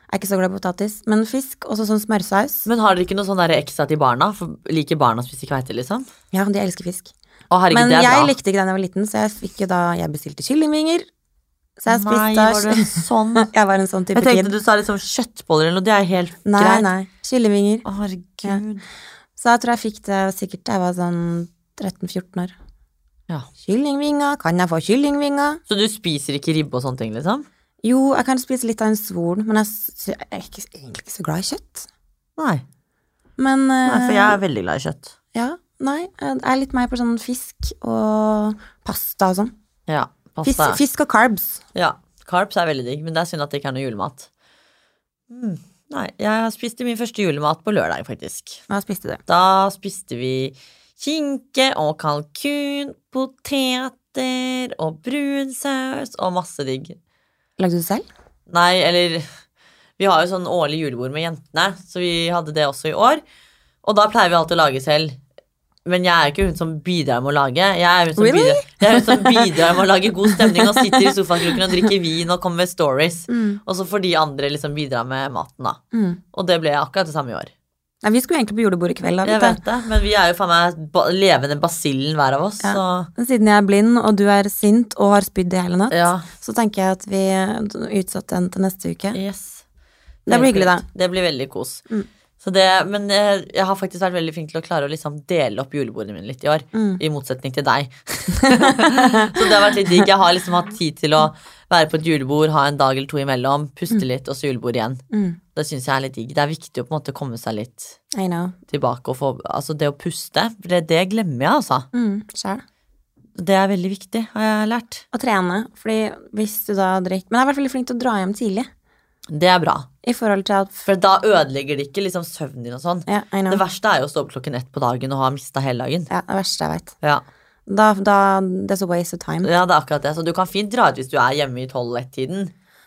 B: Jeg er ikke så glad i potatis, men fisk. Også sånn smørsaus.
A: Men har dere ikke noe sånn der ekstra til barna? For Liker barna å spise kveite, liksom?
B: Ja, de elsker fisk.
A: Å, herregud,
B: Men
A: det er bra.
B: jeg likte ikke den da jeg var liten, så jeg fikk jo da Jeg bestilte kyllingvinger. Så jeg
A: Nei,
B: spiste
A: var du en sånn
B: [LAUGHS] Jeg var en sånn
A: [LAUGHS]
B: type
A: Jeg tenkte
B: kid.
A: du sa liksom kjøttboller eller noe. Det er helt
B: Nei,
A: greit.
B: nei. Kyllingvinger.
A: Å, herregud.
B: Så jeg tror jeg fikk det sikkert da jeg var sånn 13-14 år.
A: Ja.
B: Kyllingvinger, kan jeg få kyllingvinger?
A: Så du spiser ikke ribbe og sånne ting, liksom?
B: Jo, jeg kan spise litt av en svor, men jeg, s- jeg er ikke, egentlig ikke så glad i kjøtt.
A: Nei.
B: Men
A: Nei, for
B: eh,
A: jeg er veldig glad i kjøtt.
B: ja, nei, jeg er litt mer på sånn fisk og pasta og sånn.
A: Ja,
B: Fisk,
A: pasta.
B: fisk og carbs.
A: Ja, Carbs er veldig digg, men det er synd at det ikke er noe julemat. Mm. Nei, jeg spiste min første julemat på lørdag, faktisk.
B: Hva spiste du?
A: Da spiste vi kinke og kalkun, poteter og brunsaus og masse digg.
B: Lagde du det selv?
A: Nei, eller Vi har jo sånn årlig julebord med jentene, så vi hadde det også i år. Og da pleier vi alltid å lage selv. Men jeg er ikke hun som bidrar med å lage. Jeg er hun som,
B: Really?
A: bidrar, jeg er hun
B: [LAUGHS]
A: som bidrar med å lage god stemning og sitter i sofakroken og drikker vin og kommer med stories. Og så får de andre liksom bidra med maten, da.
B: Mm.
A: Og det ble akkurat det samme i år.
B: Nei, vi skulle egentlig på julebord i kveld. Da,
A: Jeg
B: vet du.
A: vet det, men vi er jo faen meg ba levende basillen hver av oss,
B: Ja.
A: så
B: Men Siden jeg er blind, og du er sint og har spydd i hele natt,
A: ja.
B: så tenker jeg at vi utsatte den til neste uke.
A: Yes.
B: Det blir
A: Helt
B: hyggelig, da.
A: fint. Det blir veldig kos.
B: Mm.
A: Så det, men jeg, jeg har faktisk vært veldig flink til å klare å liksom dele opp julebordene mine litt i år.
B: Mm.
A: I motsetning til deg. [LAUGHS] så det har vært litt digg. Jeg har liksom hatt tid til å være på et julebord, ha en dag eller to imellom, puste litt, og så julebord igjen.
B: Mm.
A: Det syns jeg er litt digg. Det er viktig å på en måte komme seg litt
B: I know.
A: tilbake og få Altså det å puste, for det, det glemmer jeg, altså.
B: Mm, selv.
A: Det er veldig viktig, har jeg lært.
B: Og trene, fordi hvis du da drikker Men jeg har vært veldig flink til å dra hjem tidlig.
A: Det er bra.
B: I forhold til at
A: For da ødelegger det ikke liksom søvnen din og sånn.
B: Ja, I know.
A: Det verste er jo å stå opp klokken ett på dagen og ha mista hele dagen.
B: ja, det verste jeg veit.
A: Ja.
B: Da, da That's a waste of time.
A: ja, det er akkurat det. Så du kan fint dra ut hvis du er hjemme i tolv-ett-tiden.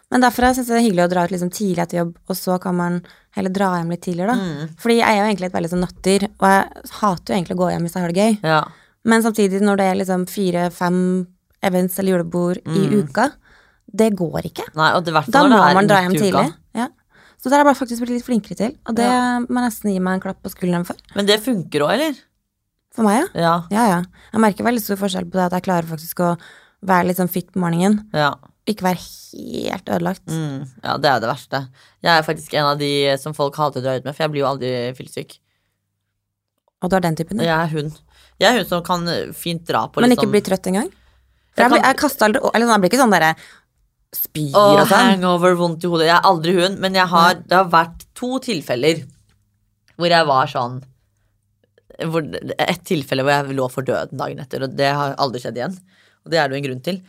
B: Men derfor syns jeg synes det er hyggelig å dra ut liksom tidlig etter jobb, og så kan man heller dra hjem litt tidligere, da.
A: Mm.
B: Fordi jeg er jo egentlig et veldig sånn nattdyr, og jeg hater jo egentlig å gå hjem hvis jeg har det gøy.
A: Ja.
B: Men samtidig, når det er liksom fire-fem events eller julebord i uka, det går ikke.
A: Nei, og det hvert
B: Da
A: fall når
B: må
A: det Mm. er
B: man dra
A: midt
B: hjem
A: i uka.
B: tidlig. Ja. Så der har jeg bare faktisk blitt litt flinkere til, og det må jeg nesten gi meg en klapp på skulderen for.
A: Men det funker òg, eller?
B: For meg, ja.
A: Ja.
B: Ja, ja. Jeg merker veldig stor forskjell på det at jeg klarer faktisk å være litt sånn fit på morgenen.
A: Ja.
B: Ikke være helt ødelagt.
A: Mm. ja, det er det verste. Jeg er faktisk en av de som folk hater å dra ut med, for jeg blir jo aldri fyllesyk.
B: Og du har den typen, ja.
A: Jeg er hun. Jeg er hun som kan fint dra på,
B: men
A: liksom.
B: ikke bli trøtt engang.
A: Jeg
B: For jeg, blir,
A: kan-
B: jeg kaster aldri Eller sånn, jeg blir ikke sånn derre spyr
A: Åh,
B: og sånn.
A: hangover, vondt i hodet. Jeg er aldri hun, men jeg har, det har vært to tilfeller hvor jeg var sånn hvor, Et tilfelle hvor jeg lå for døden dagen etter, og det har aldri skjedd igjen. Og det er det jo en grunn til.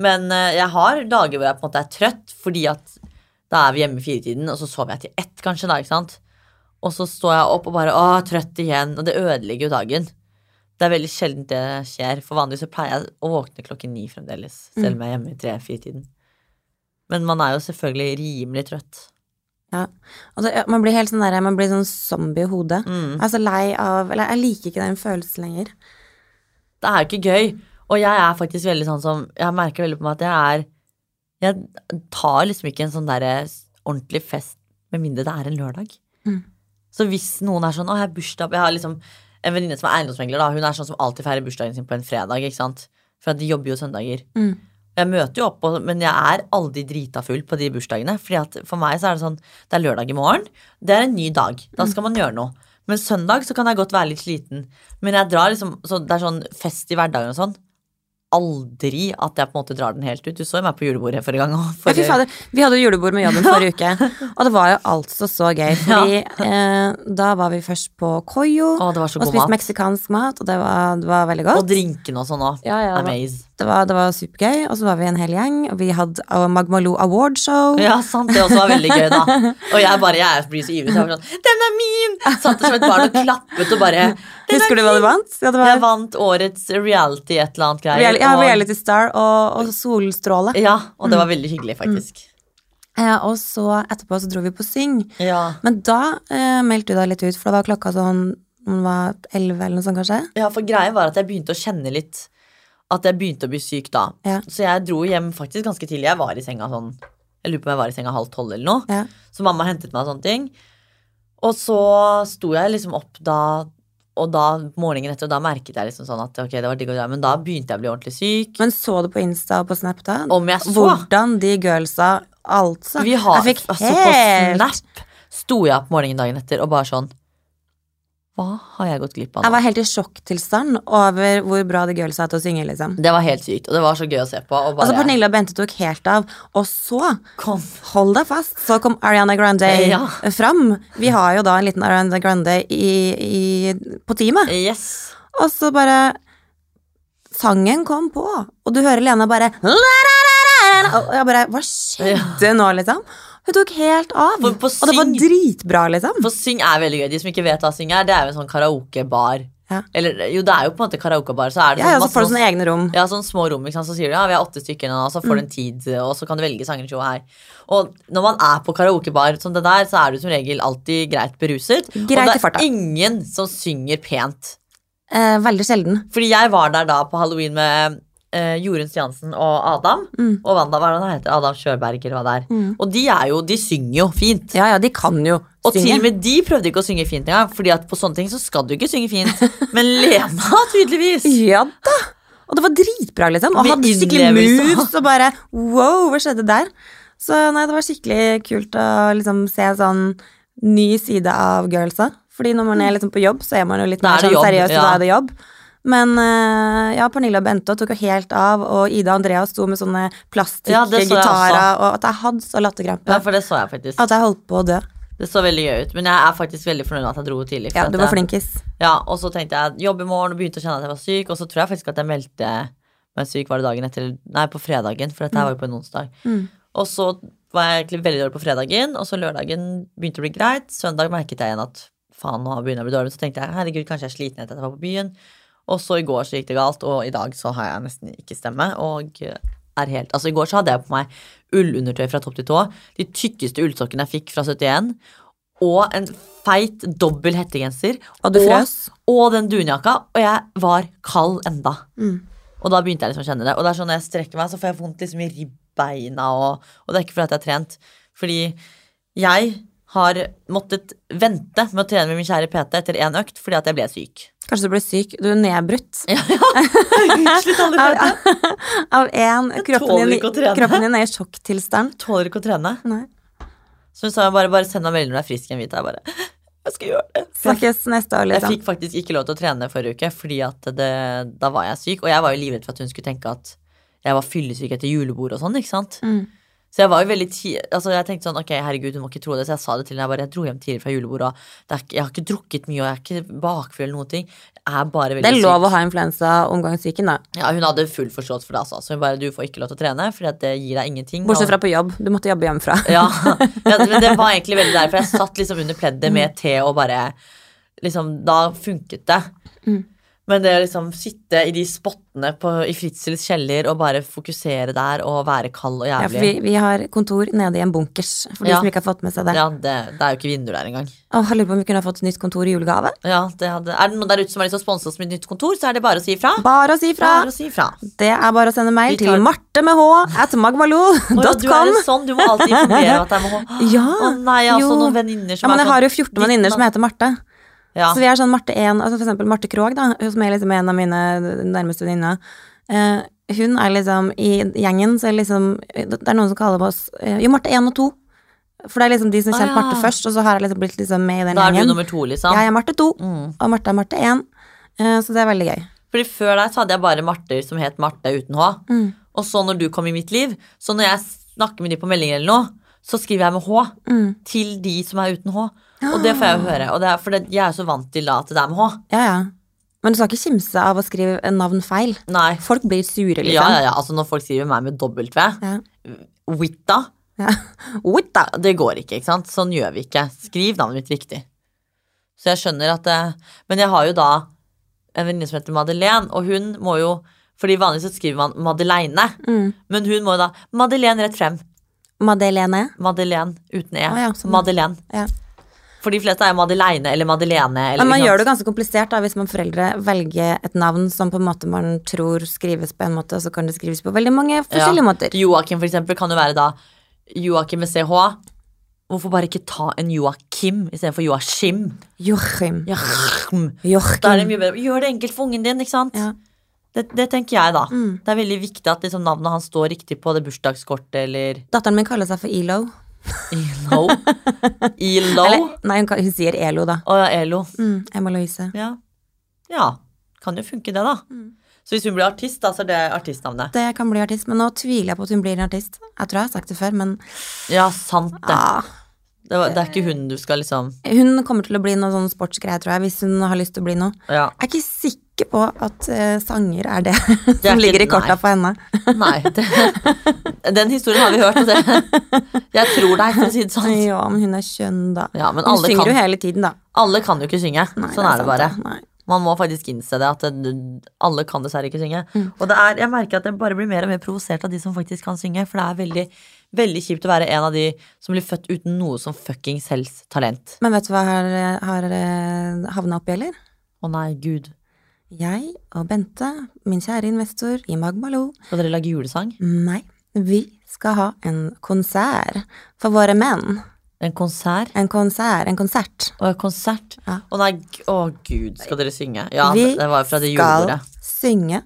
A: Men eh, jeg har dager hvor jeg på en måte er trøtt, fordi at da er vi hjemme i firetiden, og så sover jeg til ett, kanskje, da, ikke sant. Og så står jeg opp og bare Å, trøtt igjen. Og det ødelegger jo dagen. Det er veldig sjelden det skjer, for vanligvis så pleier jeg å våkne klokken ni fremdeles, selv om jeg er hjemme i tre-fire-tiden. Men man er jo selvfølgelig rimelig trøtt.
B: Ja. Og det, ja, man blir helt sånn derre Man blir sånn zombie i hodet.
A: Mm.
B: Jeg er så lei av Eller jeg liker ikke den følelsen lenger.
A: Det er jo ikke gøy. Og jeg er faktisk veldig sånn som Jeg merker veldig på meg at jeg er Jeg tar liksom ikke en sånn derre ordentlig fest med mindre det er en lørdag.
B: Mm.
A: Så hvis noen er sånn Å, jeg har bursdag Jeg har liksom en venninne som er eiendomsmegler, da. Hun er sånn som alltid feirer bursdagen sin på en fredag, ikke sant. For at de jobber jo søndager.
B: Mm.
A: Jeg møter jo opp, og- men jeg er aldri drita full på de bursdagene. Fordi at For meg så er det sånn Det er lørdag i morgen. Det er en ny dag. Da skal
B: Mm.
A: man gjøre noe. Men søndag så kan jeg godt være litt sliten. Men jeg drar liksom så Det er sånn fest i hverdagen og sånn. Aldri at jeg på en måte drar den helt ut. Du så jo meg på julebordet forrige gang. Og
B: Ja, fy
A: forrige,
B: fader. Vi hadde jo julebord
A: [LAUGHS]
B: med jobben forrige uke, og det var jo altså så gøy. Fordi eh, da var vi først på Koyo
A: å, det var så
B: og
A: god
B: spiste
A: mat.
B: meksikansk mat, og det var, det var veldig
A: Og
B: godt.
A: drinkene og sånn òg.
B: Ja, ja, det var-
A: Amaze.
B: Det var, det var supergøy, og så var vi en hel gjeng, og vi hadde eh, Magmaloo Awardshow.
A: Ja, sant, det også var veldig gøy, da. Og jeg bare, jeg blir så ivrig, så jeg var sånn Den er min! Satt som et barn og klappet og bare Den er
B: Husker du hva du vant? Ja, det
A: Jeg
B: var
A: vant årets reality et eller annet greier.
B: Real- ja,
A: og-
B: Reality Star og, og Solstråle.
A: Ja, og det var veldig hyggelig, faktisk.
B: Eh, og så etterpå så dro vi på Syng.
A: Ja.
B: Men da eh, meldte du deg litt ut, for da var klokka sånn den var 11 eller noe sånt, kanskje?
A: ja, for greia var at jeg begynte å kjenne litt At jeg begynte å bli syk da.
B: Ja.
A: Så jeg dro hjem faktisk ganske tidlig. Jeg var i senga sånn Jeg lurer på om jeg var i senga halv tolv eller noe.
B: Ja.
A: Så mamma hentet meg og sånne ting. Og så sto jeg liksom opp da, og da morgenen etter, og da merket jeg liksom sånn at ok, det var digg å dra, men da begynte jeg å bli ordentlig syk.
B: Men så du på Insta og på Snap da?
A: Om jeg så
B: Hvordan de girlsa Altså.
A: Vi har,
B: jeg fikk
A: altså, På Snap sto jeg opp morgenen dagen etter og bare sånn Hva har jeg gått glipp av
B: Jeg
A: nå?
B: var helt i sjokktilstand over hvor bra det girls er til å synge, liksom.
A: Det var helt sykt, og det var så gøy å se på. Og bare,
B: Altså, Pernille og Bente tok helt av. Og så,
A: Kom.
B: hold deg fast, så kom Ariana Grande
A: Ja.
B: fram. Vi har jo da en liten Ariana Grande i, i, på teamet.
A: Yes.
B: Og så bare Sangen kom på, og du hører Lena bare Og jeg bare Hva skjedde nå, liksom? Hun tok helt av.
A: For- for
B: og det var
A: syng-
B: dritbra, liksom.
A: For syng er veldig gøy. De som ikke vet hva syng er, det er jo en sånn karaokebar.
B: Ja.
A: Eller jo, det er jo på en måte karaokebar. Så er det
B: Ja,
A: sånn
B: ja, så
A: masse-
B: får du sånne egne rom.
A: Ja, sånn små rom, ikke sant? så sier du ja, vi har åtte stykker nå, og så
B: Mm.
A: får du en tid, og så kan du velge sanger til her. Og når man er på karaokebar som det der, så er du som regel alltid greit beruset.
B: Greit i
A: og det
B: farta.
A: er ingen som synger pent.
B: Eh, veldig sjelden.
A: Fordi jeg var der da på halloween med eh, Jorunn Stiansen og Adam.
B: Mm.
A: Og Wanda, hva er det han heter? Adam Sjørberg, eller hva det er.
B: Mm.
A: Og de er jo, de synger jo fint.
B: Ja, ja, de kan jo
A: Og til og
B: synge.
A: med de prøvde ikke å synge fint engang, Fordi at på sånne ting så skal du ikke synge fint. Men Lena, [LAUGHS] tydeligvis.
B: Ja da! Og det var dritbra, liksom. Og
A: Med
B: hadde skikkelig
A: innlevelse.
B: moves og bare wow, hva skjedde der? Så nei, det var skikkelig kult å liksom se sånn ny side av girlsa. Fordi når man er liksom på jobb, så er man jo litt
A: Mm. Da
B: mer
A: er det
B: sånn
A: jobb,
B: seriøs, og
A: ja.
B: da er det jobb. Men eh, ja, Pernille og Bente tok jo helt av, og Ida og Andrea sto med sånne
A: Ja, det så jeg
B: plastikkgitarer, og at jeg hadde så
A: Ja,
B: latterkrampe
A: for det så jeg faktisk.
B: at jeg holdt på å dø.
A: Det så veldig gøy ut, men jeg er faktisk veldig fornøyd med at jeg dro tidlig. for
B: Ja,
A: at
B: du var
A: jeg-
B: flinkis.
A: Ja, og så tenkte jeg jobb i morgen, og begynte å kjenne at jeg var syk, og så tror jeg faktisk at jeg meldte meg syk var det dagen etter, nei, på fredagen, for dette her var jo på en onsdag.
B: Mm.
A: Og så var jeg egentlig veldig dårlig på fredagen, og så lørdagen begynte å bli greit. Søndag merket jeg igjen at faen, nå begynner jeg å bli dårlig. Så tenkte jeg herregud, kanskje jeg er sliten etter at jeg var på byen. Og så i går så gikk det galt, og i dag så har jeg nesten ikke stemme. Og er helt Altså i går så hadde jeg på meg ullundertøy fra topp til tå. De tykkeste ullsokkene jeg fikk fra 71. Og en feit dobbel hettegenser.
B: Og du frøs?
A: Og den dunjakka. Og jeg var kald enda.
B: Mm.
A: Og da begynte jeg liksom å kjenne det. Og det er sånn når jeg strekker meg, så får jeg vondt liksom i ribbeina. Og, og det er ikke fordi at jeg har trent. Fordi jeg har måttet vente med å trene med min kjære PT etter én økt fordi at jeg ble syk.
B: Kanskje du ble syk. Du er nedbrutt.
A: [LAUGHS] Slutt aldri
B: Av-
A: PT.
B: [LAUGHS] Av én kroppen
A: tåler
B: din,
A: ikke å trene.
B: kroppen din er i sjokktilstand.
A: Tåler ikke å trene.
B: Nei.
A: Så hun sa bare, bare send meg melding når du er frisk igjen, Vita. Jeg bare, [LAUGHS] jeg skal gjøre det.
B: Snakkes neste år,
A: Jeg
B: liksom.
A: fikk faktisk ikke lov til å trene forrige uke, fordi at det, da var jeg syk. Og jeg var jo livredd for at hun skulle tenke at jeg var fyllesyk etter julebord og sånn, ikke sant.
B: Mm.
A: Så jeg var jo veldig ti altså jeg tenkte sånn, ok, herregud, hun må ikke tro det. Så jeg sa det til henne. Jeg bare, jeg dro hjem tidlig fra julebord, og det er, ikke- jeg har ikke drukket mye, og jeg er ikke bakfull eller noen ting. Jeg er bare veldig
B: Det er
A: syk.
B: lov å ha influensa omgangssyken, da.
A: Ja, hun hadde full forståelse for det, altså. Så hun bare, du får ikke lov til å trene, fordi at det gir deg ingenting.
B: Bortsett
A: og-
B: fra på jobb. Du måtte jobbe hjemmefra.
A: Ja, ja men det var egentlig veldig derfor jeg satt liksom under pleddet med te og bare liksom, Da funket det.
B: Mm.
A: Men det å liksom sitte i de spottene på, i Fritzels kjeller og bare fokusere der og være kald og
B: Ja, for
A: jævlig
B: vi, vi har kontor nede i en bunkers, for de
A: Ja.
B: som ikke har fått med seg det.
A: ja, det, det er jo ikke vinduer der engang.
B: Åh, jeg lurer på om vi kunne ha fått et nytt kontor i julegave.
A: Ja, det hadde, er det noen der ute som har lyst til å sponse oss med et nytt kontor, så er det bare å si ifra.
B: Bare å si ifra!
A: Bare å si ifra.
B: Det er bare å sende mail
A: Vi tar-
B: til marte med h
A: Å ja,
B: at
A: du
B: magvalo.com.
A: er en sånn, du må alltid informere at det er med H.
B: [LAUGHS] Ja,
A: Å nei, jeg har
B: jo.
A: også noen venninner
B: Ja,
A: som
B: men jeg
A: er sånn.
B: har jo 14 venninner som heter Marte.
A: ja.
B: Så vi er sånn Marte 1, altså for eksempel Marte Krogh, da, hun som er liksom en av mine nærmeste venninner. Eh, hun er liksom i gjengen, så er liksom Det er noen som kaller oss eh, Jo, Marte 1 og 2. For det er liksom de som
A: Å,
B: kjente
A: ja.
B: Marte først, og så har jeg liksom blitt liksom med i den
A: Da er du
B: gjengen.
A: nummer to, liksom.
B: Jeg er Marte 2,
A: Mm.
B: og Marte er Marte 1. Eh, så det er veldig gøy.
A: Fordi før deg så hadde jeg bare Marte som het Marte uten H.
B: Mm.
A: Og så når du kom i mitt liv, så når jeg snakker med de på melding eller noe, så skriver jeg med H
B: Mm. Ah.
A: til de som er uten H. Og det får jeg jo høre. Og det er, for det, jeg er jo så vant til da at det er med H.
B: Ja, ja. Men du skal ikke kimse av å skrive eh, navn feil.
A: Nei.
B: Folk blir sure,
A: Ja, ja,
B: liksom.
A: ja. Altså når folk skriver meg med dobbelt V,
B: Ja.
A: Witta, [LAUGHS]
B: Ja. What the?
A: det går ikke, ikke sant? Sånn gjør vi ikke. Skriv navnet mitt riktig. Så jeg skjønner at det Men jeg har jo da en venninne som heter Madeleine, og hun må jo fordi vanligvis så skriver man Madeleine,
B: Mm.
A: men hun må jo da Madeleine rett frem.
B: Madeleine.
A: Madeleine uten E.
B: Ah, ja, sånn, ja.
A: Madeleine.
B: Ja.
A: For de fleste er jo Madeleine eller Madeleine. Eller,
B: Men man
A: ikke
B: gjør det
A: sant?
B: ganske komplisert da, hvis man foreldre velger et navn som på en måte man tror skrives på en måte, og så kan det skrives på veldig mange forskjellige måter.
A: Joakim, for eksempel, kan jo være da Joakim med CH. Hvorfor bare ikke ta en Joakim istedenfor Joachim?
B: Joachim.
A: Joachim. Da er det
B: Joachim.
A: mye bedre. Gjør det enkelt for ungen din, ikke sant?
B: Mm. Ja. Mm.
A: Det, det tenker jeg, da. Det er veldig viktig at liksom, navnet hans står riktig på det bursdagskortet eller
B: Datteren min kaller seg for Elo. [LAUGHS]
A: Elo? Elo?
B: Eller, nei, hun, kan- hun sier Elo, da.
A: Å ja, Elo.
B: Mm, Emma Louise.
A: Ja. ja. Kan jo funke, det, da.
B: Mm.
A: Så hvis hun blir artist, da, så er det artistnavnet.
B: Det kan bli artist, men nå tviler jeg på at hun blir en artist. Jeg tror jeg har sagt det før, men
A: Ja, sant det.
B: ah, eh.
A: Det, var, det er ikke hun du skal liksom
B: hun kommer til å bli noe sånn sportsgreie, tror jeg, hvis hun har lyst til å bli noe.
A: Ja.
B: Jeg er ikke sikker på at eh, sanger er det [LAUGHS]
A: er
B: som ligger i
A: ikke- nei.
B: korta for henne. [LAUGHS]
A: Nei. Det, den historien har vi hørt, og det Jeg tror deg, for å si det sånn.
B: Ja, men hun er kjønn, da.
A: Ja, men
B: hun
A: alle
B: synger
A: kan-
B: jo hele tiden, da.
A: Alle kan jo ikke synge.
B: Nei,
A: sånn er det
B: sant,
A: bare.
B: da. Nei.
A: Man må faktisk innse det, at det, alle kan dessverre ikke synge.
B: Mm.
A: Og det er, jeg merker at jeg bare blir mer og mer provosert av de som faktisk kan synge, for det er veldig, veldig kjipt å være en av de som blir født uten noe som fuckings helst talent.
B: Men vet du hva jeg har, eh, har eh, havna oppi, eller?
A: Å nei, gud.
B: Jeg og Bente, min kjære investor i Magmalo,
A: Skal dere lage julesang?
B: nei, vi skal ha en konsert for våre menn.
A: En konsert?
B: En konsert, en konsert.
A: Å, konsert? Å
B: Ja.
A: nei, g- å gud, skal dere synge? Ja,
B: vi
A: det, det var fra det
B: skal
A: julebordet.
B: synge.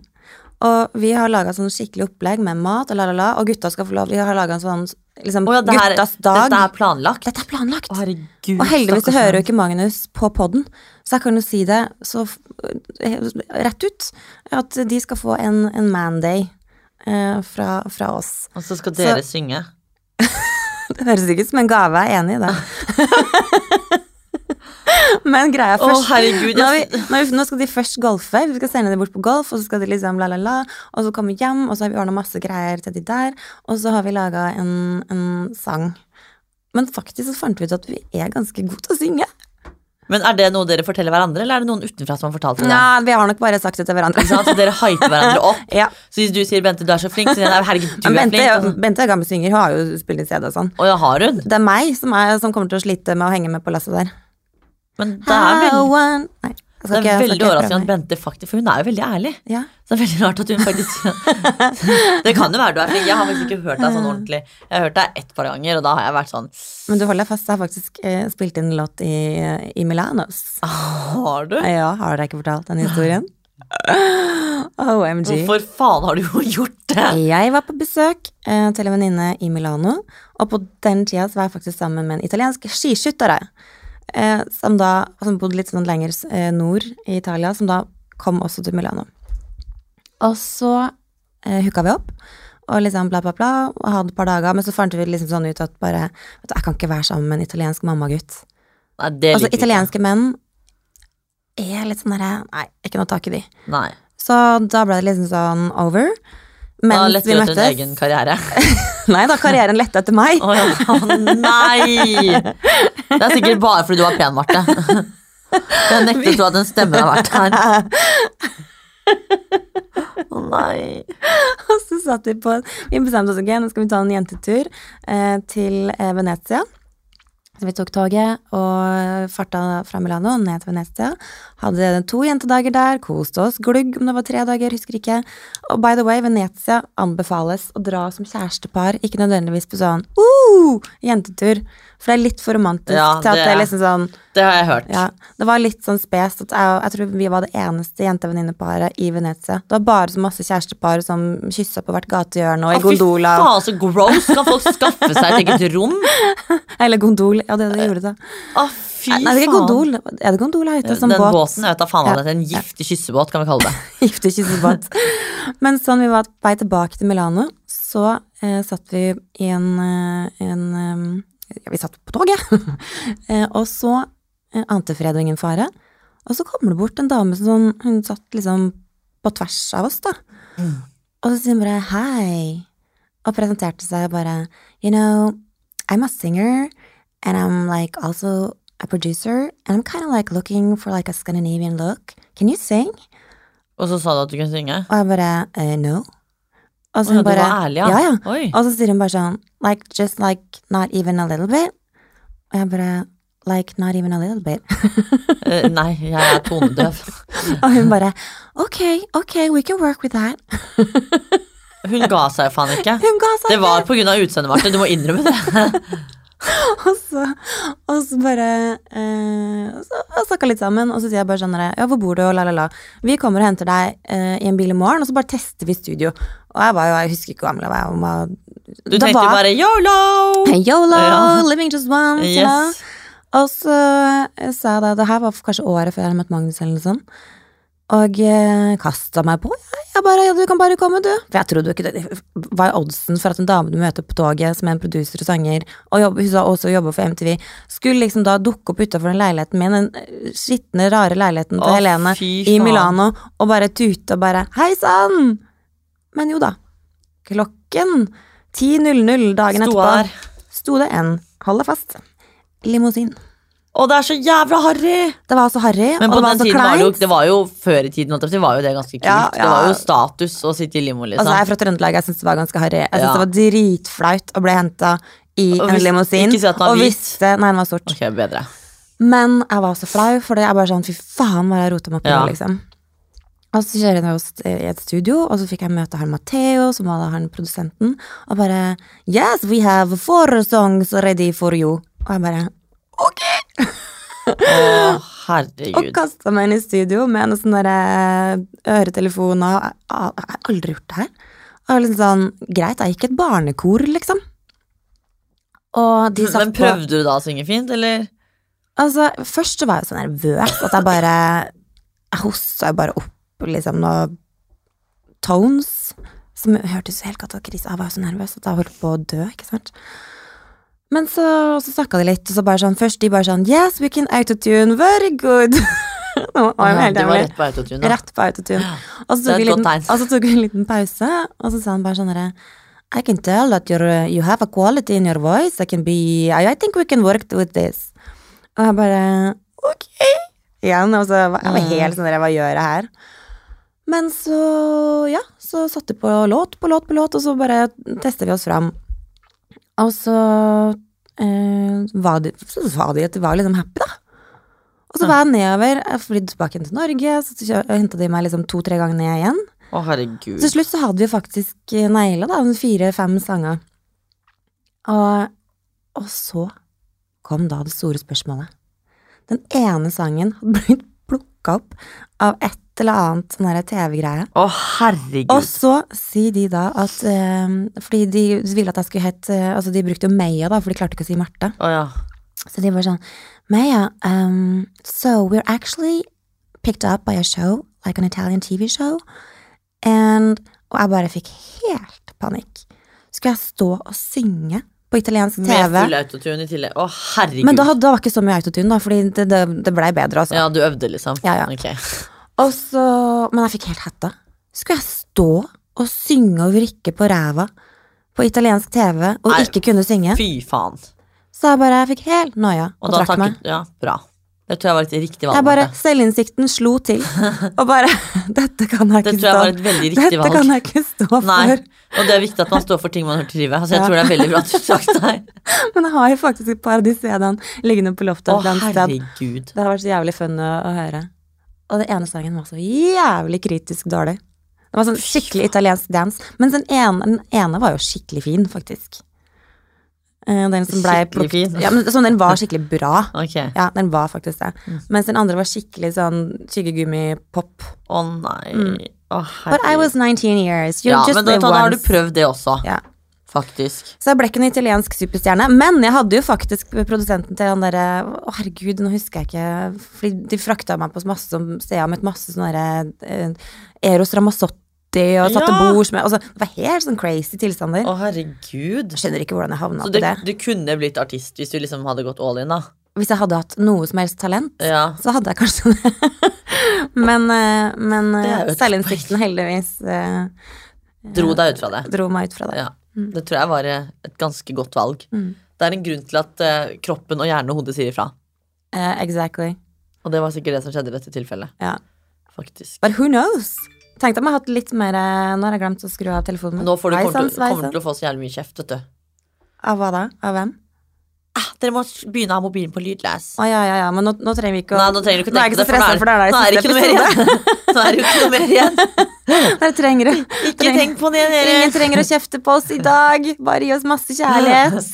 B: Og vi har laga sånn skikkelig opplegg med mat og la-la-la, og gutta skal få lov. Vi har laga en sånn liksom,
A: Å ja, det her,
B: guttas dag.
A: dette er planlagt?
B: Dette er planlagt.
A: Å herregud.
B: og heldigvis så
A: stakkars
B: hører jo
A: mann.
B: ikke Magnus på podden, så jeg kan jo si det så f- eh, rett ut. At de skal få en, en manday eh, fra, fra oss.
A: Og så skal dere synge?
B: Det høres ikke ut som en gave, jeg er enig i det. [LAUGHS] Men greia
A: Å
B: først
A: herregud,
B: nå,
A: jeg,
B: er vi, nå, er vi, nå skal de først golfe. Vi skal sende dem bort på golf, og så skal de liksom la, la, la. Og så komme hjem, og så har vi ordna masse greier til de der. Og så har vi laga en, en sang. Men faktisk så fant vi ut at vi er ganske gode til å synge.
A: men er det noe dere forteller hverandre, eller er det noen utenfra som har fortalt dere det?
B: Ja, vi har nok bare sagt det til hverandre. liksom.
A: Ikke [LAUGHS] sant? Så dere hyper hverandre opp.
B: Ja.
A: Så hvis du sier 'Bente, du er så flink', så sier jeg «Nei, 'herregud, du er
B: Men Bente, er jo-
A: flink'. altså.
B: Bente er gammel synger, hun har jo spilt inn CD og sånn.
A: Å ja, har hun?
B: Det er meg som, er, som kommer til å slite med å henge med på lasset der.
A: Men det er,
B: How
A: veld,
B: one- Nei, jeg
A: det
B: skal
A: er
B: ikke- jeg skal
A: veldig
B: ikke prøve
A: overraskende at
B: meg.
A: Bente faktisk For hun er jo veldig ærlig.
B: Ja.
A: Så det er veldig rart at hun faktisk
B: [LAUGHS]
A: Det kan jo være du er flink. Jeg har faktisk ikke hørt deg sånn ordentlig. Jeg har hørt deg ett par ganger, og da har jeg vært sånn
B: Men du holder deg fast, jeg har faktisk eh, spilt inn en låt i, i Milanos.
A: Ah. Har du?
B: Ja, har dere ikke fortalt den
A: [LAUGHS]
B: historien? OMG.
A: Hvorfor faen har du [LAUGHS] jo gjort det?
B: Jeg var på besøk eh, til en venninne i Milano, og på den tida så var jeg faktisk sammen med en italiensk skiskytter, eh, som da som bodde litt sånn lenger eh, nord i Italia, som da kom også til Milano. Og så eh, hooka vi opp, og liksom bla, bla, bla, og hadde et par dager, men så fant vi liksom sånn ut at bare vet du, Jeg kan ikke være sammen med en italiensk mammagutt.
A: Nei, det
B: Altså,
A: liker vi
B: italienske menn er litt sånn derre Nei, ikke noe tak i de.
A: ikke. Nei.
B: Så da ble det liksom sånn over.
A: Da
B: Mens vi
A: letter du etter din
B: møttes
A: egen karriere.
B: [LAUGHS] Nei
A: [LAUGHS]
B: da, karrieren lette etter meg. [LAUGHS]
A: Å ja. Å, nei! Det er sikkert bare fordi du var pen, Marte. Jeg nektet du at en stemme har vært her. Å nei.
B: Og så satt vi på Vi bestemte oss ok, nå skal vi ta en jentetur eh, til eh, Venezia. Så vi tok toget og farta fra Milano ned til Venezia. Hadde to jentedager der, koste oss glugg om det var tre dager, husker ikke. Og by the way, Venezia anbefales å dra som kjærestepar, ikke nødvendigvis på sånn uh, jentetur. For det er litt for romantisk
A: Ja,
B: til at
A: det
B: det er
A: er-
B: liksom sånn
A: Det har jeg hørt.
B: Ja, det var litt sånn spes at jeg, jeg tror vi var det eneste jentevenninneparet i Venezia. Det var bare så masse kjærestepar som kyssa på hvert gatehjørne
A: Å,
B: og i gondola.
A: Fy faen, så gross! Kan folk skaffe seg et eget rom?
B: Eller gondol, ja det er det de gjorde da.
A: Å, Eh, fy
B: Nei, det er ikke
A: faen.
B: gondol. Er det gondol her ute? Som
A: Den
B: båt?
A: båten, jeg vet da faen hva det heter. En giftig kyssebåt, kan vi kalle det.
B: [LAUGHS] Giftig kyssebåt. Men sånn vi var på vei tilbake til Milano, så eh, satt vi i en, eh, en eh, Ja, vi satt på toget, [LAUGHS] eh, og så eh, ante fred og ingen fare. Og så kommer det bort en dame som sånn, hun satt liksom på tvers av oss, da. Og så sier hun bare hei, og presenterte seg og bare You know, I'm a singer, and I'm like also a producer, and I'm kind of like looking for like a Scandinavian look. Can you sing?
A: Og så sa du at du kunne synge?
B: Og jeg bare eh, no. Og
A: Å,
B: så
A: ja,
B: hun
A: du
B: bare
A: var ærlig, ja.
B: ja, ja.
A: Oi.
B: Og så sier hun bare sånn like just like not even a little bit. Og jeg bare like not even a little bit. [LAUGHS]
A: Eh, nei, jeg er tonedøv.
B: Og hun bare ok, ok, we can work with that. [LAUGHS]
A: Hun ga seg jo faen ikke.
B: Hun ga seg
A: Det var pga. utseendet, Marte. Du må innrømme det.
B: Og så, og så bare eh, og så snakka litt sammen, og så sier jeg bare sånn her, Ja, hvor bor du? Og la, la, la. Vi kommer og henter deg eh, i en bil i morgen, og så bare tester vi studio. Og jeg var jo, jeg husker ikke hvor gammel jeg var. Jeg var
A: Du tenkte jo bare yolo!
B: Yolo!
A: Ja.
B: Living just once, you know.
A: Yes.
B: Og så eh, sa jeg da Det her var kanskje året før jeg hadde møtt Magnus eller noe sånt. Og eh, kasta meg på. Jeg, jeg bare, ja, du kan bare komme, du. For jeg trodde jo ikke det. Hva er oddsen for at en dame du møter på toget, som er en producer og sanger, og jobb, hun sa også jobber for MTV, skulle liksom da dukke opp utafor den leiligheten min, den eh, skitne, rare leiligheten til
A: Å,
B: Helene
A: fy
B: i
A: faen.
B: Milano, og bare tute og bare Hei sann! Men jo da. Klokken 10.00 dagen
A: Sto
B: etterpå
A: der.
B: sto det en, hold deg fast, limousin.
A: Og det er så jævla harry!
B: Det var så harry, og
A: Men på
B: det var
A: den
B: så
A: tiden var det, jo,
B: kleint.
A: det var jo før i tiden, holdt jeg på å si, var jo det ganske kult.
B: Ja,
A: Det
B: ja.
A: var jo status å sitte i limo, liksom.
B: Altså, jeg er fra Trøndelag, jeg syns det var ganske harry. Jeg syns
A: Ja.
B: det var dritflaut å bli henta i
A: Og
B: en
A: hvis-
B: limousin.
A: ikke si at den var
B: og
A: hvit.
B: visste Nei, den var sort.
A: ok,
B: [LAUGHS]
A: bedre.
B: Men jeg var så flau, for jeg bare sånn Fy faen, hva jeg rota meg opp i,
A: Ja.
B: liksom. Og så kjører jeg oss i et studio, og så fikk jeg møte han Matteo, som var da han produsenten, og bare Yes, we have four songs ready for you. Og jeg bare
A: Å,
B: Og
A: herregud.
B: kasta meg inn i studio med en sånn derre øretelefon og jeg, jeg, jeg har aldri gjort det her. Og jeg var liksom sånn Greit, jeg gikk i et barnekor, liksom. Og de satt
A: Men prøvde du da å synge fint, eller?
B: på Altså, først så var jeg så nervøs at jeg bare Jeg hosta jo bare opp liksom noen tones som hørtes helt katakrise Jeg var jo så nervøs at jeg holdt på å dø, ikke sant. Men så, så snakka de litt, og så bare sånn Først de bare sånn Yes, we can autotune, very good. [LAUGHS] Nå var jeg jo helt
A: det var
B: jævlig.
A: rett på autotune. da.
B: Rett på autotune. Og så
A: Det er
B: tok,
A: et
B: vi en liten,
A: godt tegn.
B: og så tok vi en liten pause, og så sa han bare sånn herre I can tell that you're, you have a quality in your voice. I can be I, I think we can work with this. Og jeg bare Ok! Igjen. Og så var jeg var helt sånn der, Hva gjør jeg her? Men så, ja, så satte vi på låt på låt på låt, og så bare tester vi oss fram. Og så eh, var de, så sa de at de var liksom happy, da. Og så var jeg nedover, jeg flydde tilbake igjen til Norge, så henta de meg liksom to-tre ganger ned igjen.
A: Å, herregud.
B: Til slutt så hadde vi jo faktisk negla da, fire-fem sanger. Og, og så kom da det store spørsmålet. Den ene sangen hadde blitt plukka opp av et eller annet sånn her TV-greie.
A: Å, herregud.
B: Og så sier de da at eh, Fordi de ville at jeg skulle hett eh, Altså, de brukte jo Meya, da, for de klarte ikke å si Marte.
A: Å, ja.
B: Så de var sånn Maya, um, so we're actually picked up by a show, like an Italian TV show. And, og jeg bare fikk helt panikk. Skulle jeg stå og synge på italiensk
A: Med
B: TV?
A: full autotune i tillegg. Å, herregud.
B: Men da, hadde- da var ikke så mye autotune, da, fordi det, det, det blei bedre, altså.
A: Ja, du øvde, liksom?
B: Ja, ja.
A: Ok.
B: Og så, men jeg fikk helt hetta. Skulle jeg stå og synge og vrikke på ræva på italiensk TV og
A: Nei.
B: ikke kunne synge?
A: Fy faen.
B: Så jeg bare jeg fikk helt noia og,
A: Og, da
B: trakk meg.
A: takket Ja, bra. Det tror jeg var et riktig valg.
B: Jeg bare,
A: Marte.
B: Selvinnsikten slo til. Og bare [LAUGHS] Dette kan jeg
A: det tror jeg
B: ikke stå
A: var et veldig
B: [LAUGHS]
A: riktig
B: Dette
A: valg.
B: kan jeg ikke stå for.
A: Nei, og det er viktig at man står for ting man hører til livet. Altså, jeg
B: Ja.
A: tror det er veldig bra at du sagt
B: [LAUGHS]
A: nei.
B: Men jeg har jo faktisk et par av de CD-ene liggende på loftet.
A: Å,
B: et eller annet sted.
A: herregud.
B: Det har vært så jævlig fun å, å høre. Og den ene sangen var så jævlig kritisk dårlig. Det var sånn skikkelig italiensk dance. Mens den ene, den ene var jo skikkelig fin, faktisk. Eh, Den som ble
A: Skikkelig fin?
B: Ja, men sånn, den var skikkelig
A: [LAUGHS]
B: bra.
A: Ok. Å
B: Ja, den var faktisk det.
A: Mm.
B: Mens den andre var skikkelig sånn tyggegummipop.
A: nei. Å,
B: Mm. But I
A: herregud.
B: was 19 years. You
A: Ja,
B: just
A: men da,
B: live
A: da har du
B: once.
A: prøvd det også,
B: Ja.
A: faktisk.
B: Så jeg ble ikke noen italiensk superstjerne. Men jeg hadde jo faktisk produsenten til han derre Å, herregud, nå husker jeg ikke. Fordi de frakta meg på masse sånn steder med masse sånne derre eh, Eros Ramazzotti og satte
A: Ja.
B: bords med altså, Det var helt sånn crazy tilstander.
A: Å, herregud.
B: Jeg skjønner ikke hvordan jeg havna
A: Så
B: på
A: du,
B: det.
A: du kunne blitt artist hvis du liksom hadde gått all in, da?
B: Hvis jeg hadde hatt noe som helst talent,
A: Ja.
B: så hadde jeg kanskje det. [LAUGHS] men eh, men eh,
A: Det er jo et
B: selvinnsikten heldigvis eh,
A: Dro deg ut fra det.
B: dro meg ut fra det.
A: Ja.
B: Mm.
A: Det tror jeg var eh, et ganske godt valg. Det er en grunn til at eh, kroppen og hjernen og hodet sier ifra.
B: Eh, exactly.
A: Og det var sikkert det som skjedde i dette tilfellet.
B: Ja.
A: faktisk.
B: But who knows? Tenkte jeg meg hatt litt mer eh, Nå har jeg glemt å skru av telefonen min.
A: Nå får du
B: Hei
A: kommer,
B: sann,
A: til, kommer
B: sveisen.
A: til å få så jævlig mye kjeft, vet du.
B: Av hva da? Av hvem?
A: Ah, dere må begynne å ha mobilen på lydløs.
B: Å ja, ja, ja, men nå, nå trenger vi ikke å
A: Nei, nå trenger du ikke
B: Nå er
A: tenke
B: jeg ikke så stressa, for det er
A: nå er
B: der
A: det
B: i
A: ikke noe
B: siste
A: mer igjen. [LAUGHS]
B: episode.
A: Nå er det jo ikke noe mer
B: [LAUGHS]
A: igjen.
B: Der trenger du.
A: Ikke tenk på det, dere. [LAUGHS]
B: Ingen trenger å kjefte på oss i dag. Bare gi oss masse kjærlighet.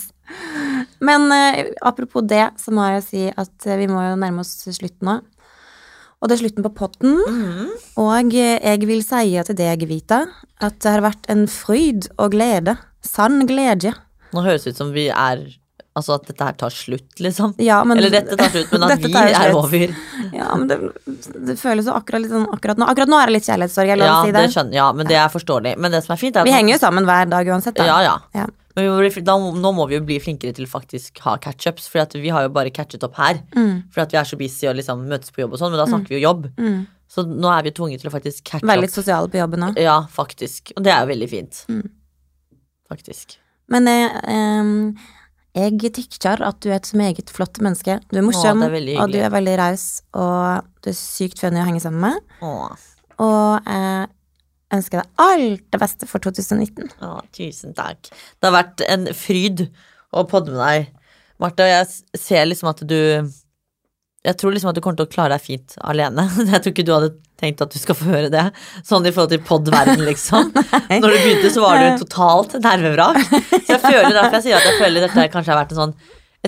B: Men eh, apropos det, så må jeg jo si at eh, vi må jo nærme oss slutten nå. Og det er slutten på potten.
A: Mhm.
B: Og eh, jeg vil si til deg, Vita, at det har vært en fryd og glede. Sann glede.
A: Nå høres det ut som vi er Altså at dette her tar slutt, liksom.
B: Ja, men-
A: Eller dette tar slutt, men at
B: [LAUGHS] Dette
A: vi
B: tar jo
A: er
B: slutt.
A: over.
B: Ja, men det, det føles jo akkurat litt sånn akkurat nå. Akkurat nå er det litt kjærlighetssorg, jeg lov
A: Ja,
B: å si
A: det
B: det.
A: skjønner, ja, men det er forståelig. Men det som er fint, er at
B: Vi henger jo sammen hver dag uansett, da.
A: Ja, ja.
B: Ja.
A: Men vi må bli, fl- da, må- nå må vi jo bli flinkere til faktisk ha catch-ups, for at vi har jo bare catchet opp her.
B: Mm,
A: For at vi er så busy og liksom møtes på jobb og sånn, men da snakker vi jo jobb. Så nå er vi tvunget til å faktisk catch
B: Være litt
A: up.
B: sosiale på jobben òg.
A: Ja, faktisk. Og det er jo veldig fint. Faktisk.
B: Men eh, em, jeg tykker at du er et meget flott menneske. Du er morsom,
A: det er veldig
B: og du
A: hyggelig.
B: er veldig raus, og du er sykt funny å henge sammen med.
A: Åh,
B: Og jeg ønsker deg alt det beste for 2019.
A: [LAUGHS] åh, tusen takk. Det har vært en fryd å podde med deg, Marte. Og jeg s- ser liksom at du Jeg tror liksom at du kommer til å klare deg fint alene. [LAUGHS] Jeg tror ikke du hadde tenkt at du skal få høre det. Sånn i forhold til podverden, liksom.
B: Nei.
A: Når du begynte, så var du totalt nervevrak. Så jeg føler derfor jeg sier at jeg føler dette kanskje har vært en sånn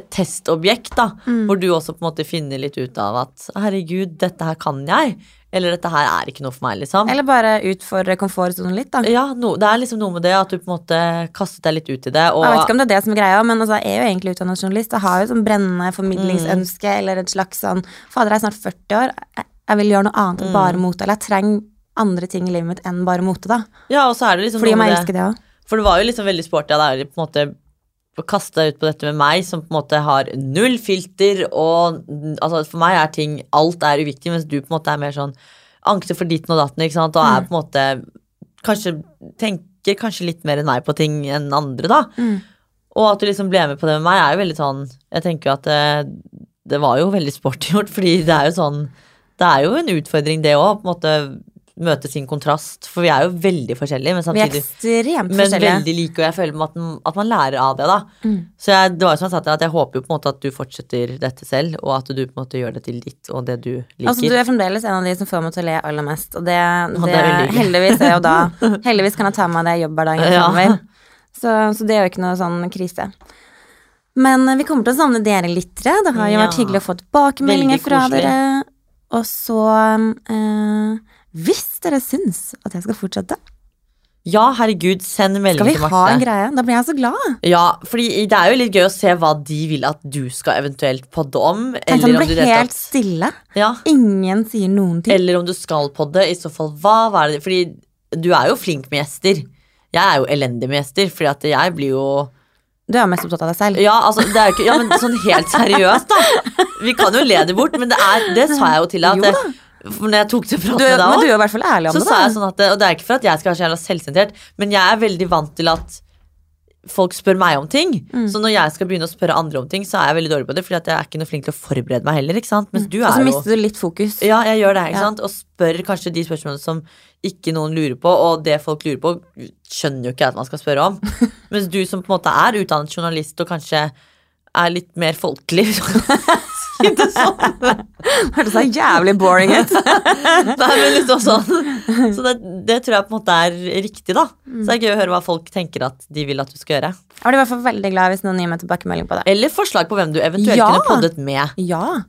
A: et testobjekt, da. Hvor du også på en måte finner litt ut av at herregud, dette her kan jeg. Eller dette her er ikke noe for meg, liksom.
B: Eller bare utfordre komfortsonen litt, da.
A: Ja, no, det er liksom noe med det at du på en måte kastet deg litt ut i det. Og
B: Jeg vet ikke om det er det som er greia, men altså, jeg er jo egentlig utdannet journalist. Jeg har jo et sånn brennende formidlingsønske
A: Mm.
B: eller et slags sånn Fader, jeg er snart 40 år. Jeg, jeg vil gjøre noe annet enn
A: Mm.
B: bare mote. Eller jeg trenger andre ting i livet mitt enn bare mote, da.
A: ja, og så er det liksom
B: Fordi
A: noe
B: om jeg
A: med
B: elsker det òg.
A: For det var jo liksom veldig sporty av deg å på en måte å kaste deg ut på dette med meg, som på en måte har null filter, og n- altså for meg er ting Alt er uviktig, mens du på en måte er mer sånn ankter for ditten og datten, ikke sant, og
B: Mm.
A: er på en måte Kanskje tenker kanskje litt mer nei på ting enn andre, da.
B: Mm.
A: Og at du liksom ble med på det med meg, er jo veldig sånn Jeg tenker jo at det, det var jo veldig sporty gjort, [LAUGHS] fordi det er jo sånn Det er jo en utfordring, det òg, på en måte møte sin kontrast, for vi er jo veldig forskjellige, men
B: Vi er
A: samtidig
B: ekstremt
A: men
B: forskjellige. Mm.
A: veldig like, og jeg føler at, den- at man lærer av det. da. Så jeg, det var jo som jeg sa til deg, at jeg håper jo på en måte at du fortsetter dette selv, og at du på en måte gjør det til ditt og det du liker.
B: Altså, du er fremdeles en av de som får meg til å le aller mest, og det, det,
A: det er veldig hyggelig.
B: heldigvis er jo da
A: [LAUGHS]
B: Heldigvis kan jeg ta med meg det i jobbhverdagen
A: Ja.
B: fremover. Så, så det er jo ikke noe sånn krise. Men eh, vi kommer til å savne dere lyttere. Det har jo
A: Ja.
B: vært hyggelig å få tilbakemeldinger
A: Veldig
B: fra
A: koselig.
B: dere. Og så eh, Hvis dere syns at jeg skal fortsette,
A: Ja, herregud, send melding
B: skal vi
A: til Marte.
B: ha en greie. Da blir jeg så glad.
A: Ja, fordi det er jo litt gøy å se hva de vil at du skal eventuelt podde om.
B: Tenk
A: Eller
B: om
A: om,
B: det
A: du
B: blir
A: rett og
B: helt
A: slett-
B: stille.
A: ja,
B: Ingen sier noen ting.
A: eller om du skal podde, i så fall hva? hva er det? Fordi du er jo flink med gjester. Jeg er jo elendig med gjester, fordi at jeg blir jo
B: Du er jo mest opptatt av deg selv.
A: Ja, altså, det er jo ikke, ja, men sånn helt seriøst, da. Vi kan jo le det bort, men det, er, det sa jeg jo til deg. At
B: Jo
A: det, for når jeg tok til
B: Du,
A: praten med deg
B: er- men du er
A: òg,
B: jo i hvert fall ærlig om
A: så
B: det.
A: sa
B: da.
A: jeg sånn at det- Og det er ikke for at jeg skal være så jævla selvsentrert, men jeg er veldig vant til at folk spør meg om ting.
B: Mm.
A: Så når jeg skal begynne å spørre andre om ting, så er jeg veldig dårlig på det, fordi at jeg er ikke noe flink til å forberede meg heller, ikke sant. Mens du
B: Mm. Og
A: er
B: så
A: jo
B: mister du litt fokus.
A: ja, jeg gjør det, ikke
B: Ja.
A: sant? Og spør kanskje de spørsmålene som ikke noen lurer på, og det folk lurer på, skjønner jo ikke jeg at man skal spørre
B: [LAUGHS]
A: om. Mens du som på en måte er utdannet journalist og kanskje er litt mer folkelig [LAUGHS] Si det sånn.
B: [LAUGHS] Hørtes så jævlig boring [LAUGHS] ut.
A: Nei, men liksom sånn. Så det, det tror jeg på en måte er riktig, da. Så det er gøy å høre hva folk tenker at de vil at du skal gjøre.
B: Jeg blir i hvert fall veldig glad hvis noen gir meg tilbakemelding på det.
A: Eller forslag på hvem du eventuelt
B: Ja.
A: kunne poddet med.
B: Ja.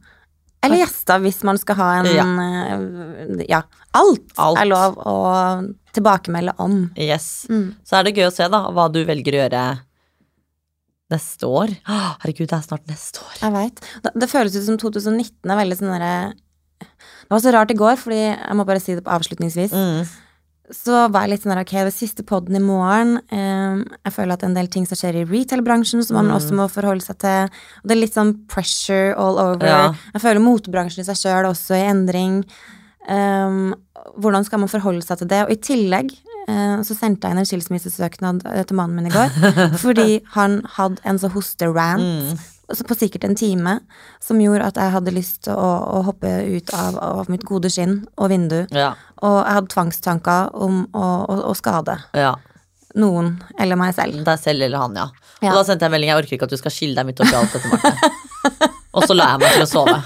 B: Eller gjester hvis man skal ha en
A: Ja.
B: eh, ja. Alt,
A: Alt.
B: er lov å tilbakemelde om.
A: Yes.
B: Mm.
A: Så er det gøy å se da hva du velger å gjøre neste år. Å, Herregud, det er snart neste år.
B: Jeg vet. Det, det føles ut som 2019 er veldig sånn derre Det var så rart i går, fordi jeg må bare si det på avslutningsvis.
A: Mm.
B: så var jeg litt sånn der, ok, det er siste podden i morgen. eh, jeg føler at det er en del ting som skjer i retail-bransjen, som man også må forholde seg til. Og det er litt sånn pressure all over.
A: Ja.
B: Jeg føler motebransjen i seg sjøl også i endring. Um, hvordan skal man forholde seg til det? Og i tillegg eh, så sendte jeg inn en skilsmissesøknad eh, til mannen min i går, fordi han hadde en så hosterant så på sikkert en time, som gjorde at jeg hadde lyst til å, å hoppe ut av, av mitt gode skinn og vindu.
A: Ja.
B: Og jeg hadde tvangstanker om å, å, å skade
A: Ja,
B: noen eller meg selv.
A: deg selv eller han, ja.
B: Ja.
A: Og da sendte jeg en melding, jeg orker ikke at du skal skille deg midt oppi alt dette, Marte. og så la jeg meg til å sove.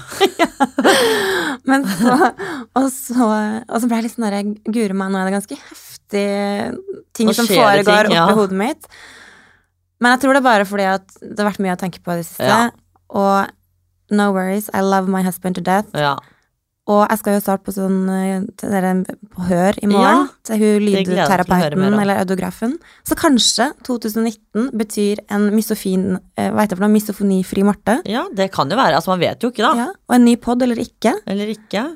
B: Men så, og, så, og så ble jeg litt sånn der jeg Guri meg, nå er det ganske heftig ting
A: Nå
B: som
A: skjer det
B: foregår
A: ting, ja.
B: oppi hodet mitt. Men jeg tror det er bare fordi at det har vært mye å tenke på i det siste.
A: Ja.
B: Og no worries, I love my husband to death.
A: Ja.
B: Og jeg skal jo starte på sånn eh, til dere på hør i morgen.
A: Ja.
B: til hun
A: Det gleder jeg meg til å høre
B: lydterapeuten
A: mer om.
B: eller audiografen. Så kanskje 2019 betyr en misofin, eh, hva heter det for noe, misofonifri Marte.
A: ja, det kan jo være. Altså, man vet jo ikke, da.
B: Ja. Og en ny pod eller ikke.
A: Eller ikke.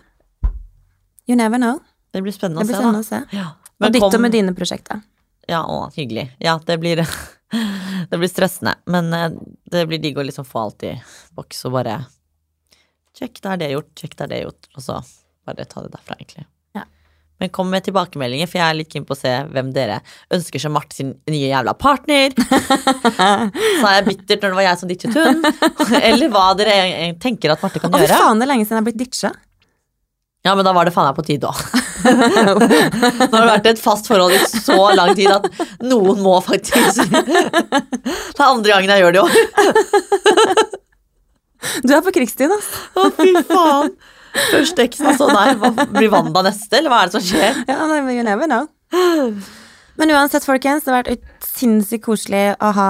B: You never know.
A: Det blir spennende
B: Det
A: å
B: blir spennende
A: se,
B: å se.
A: da. Ja.
B: Og ditt
A: kom-
B: og med dine prosjekter.
A: Ja, å, hyggelig. Ja, det blir [LAUGHS] Det blir stressende, men eh, det blir digg å liksom få alt i boks og bare Sjekk, da er det gjort, sjekk, da er det gjort, og så bare ta det derfra, egentlig.
B: Ja.
A: Men kom med tilbakemeldinger, for jeg er litt keen på å se hvem dere ønsker som Marte sin nye jævla partner. Sa jeg bittert når det var jeg som ditchet hun? Eller hva dere eh, tenker at Marte kan
B: Å, fy
A: gjøre.
B: faen, det er lenge siden jeg har blitt ditcha.
A: Ja, men da [LAUGHS] var det faen meg på tide òg. Nå har det vært et fast forhold i så lang tid at noen må faktisk [LAUGHS] Det er andre gangen jeg gjør det i år.
B: Du er på krigsstien, ass.
A: Å, fy faen. Første eksen og sånn der. Hva- Blir Wanda neste, eller hva er det som skjer?
B: Ja, nei, men you never know. Men uansett, folkens, det har vært ut- sinnssykt koselig å ha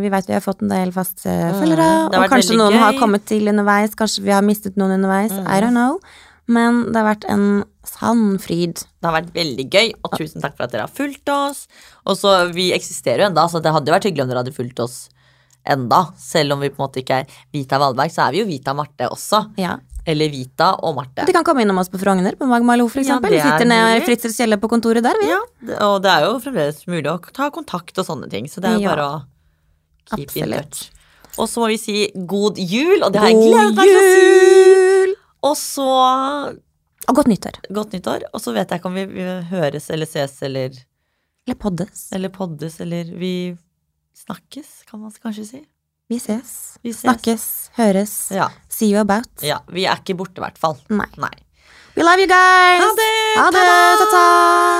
B: Vi vet vi har fått en del faste følgere,
A: Mm, det har
B: og
A: vært
B: kanskje
A: veldig
B: noen har
A: gøy. Mm.
B: kommet til underveis, kanskje vi har mistet noen underveis, I don't know. Men det har vært en sann fryd.
A: Det har vært veldig gøy, og tusen takk for at dere har fulgt oss. Og så, Vi eksisterer jo enda, så det hadde jo vært hyggelig om dere hadde fulgt oss enda. Selv om vi på en måte ikke er Vita Valberg, så er vi jo Vita Marte også.
B: Ja.
A: Eller Vita og Marte.
B: De kan komme innom oss på Frogner, på Magmalo for
A: Ja,
B: eksempel.
A: det
B: vi
A: er
B: sitter nede i
A: mulig.
B: Fritzels kjeller på kontoret der, vi.
A: Ja, det- og det er jo fremdeles mulig å ta kontakt og sånne ting, så det er jo
B: Ja.
A: bare å keep in
B: Absolutt.
A: touch. Og så må vi si god jul, og det har jeg gledet
B: God
A: meg til å si.
B: jul!
A: Og så
B: Og godt nyttår.
A: Godt nyttår, og så vet jeg ikke om vi, vi høres eller ses eller,
B: Eller poddes.
A: eller poddes eller Vi snakkes, kan man kanskje si.
B: Vi ses.
A: Vi ses.
B: Snakkes. Høres.
A: Ja,
B: See you about.
A: ja. Vi er ikke borte, i hvert fall.
B: Nei.
A: Nei.
B: We love you guys!
A: Ha det!
B: Ha det!
A: Ta-ta!
B: Ta-ta!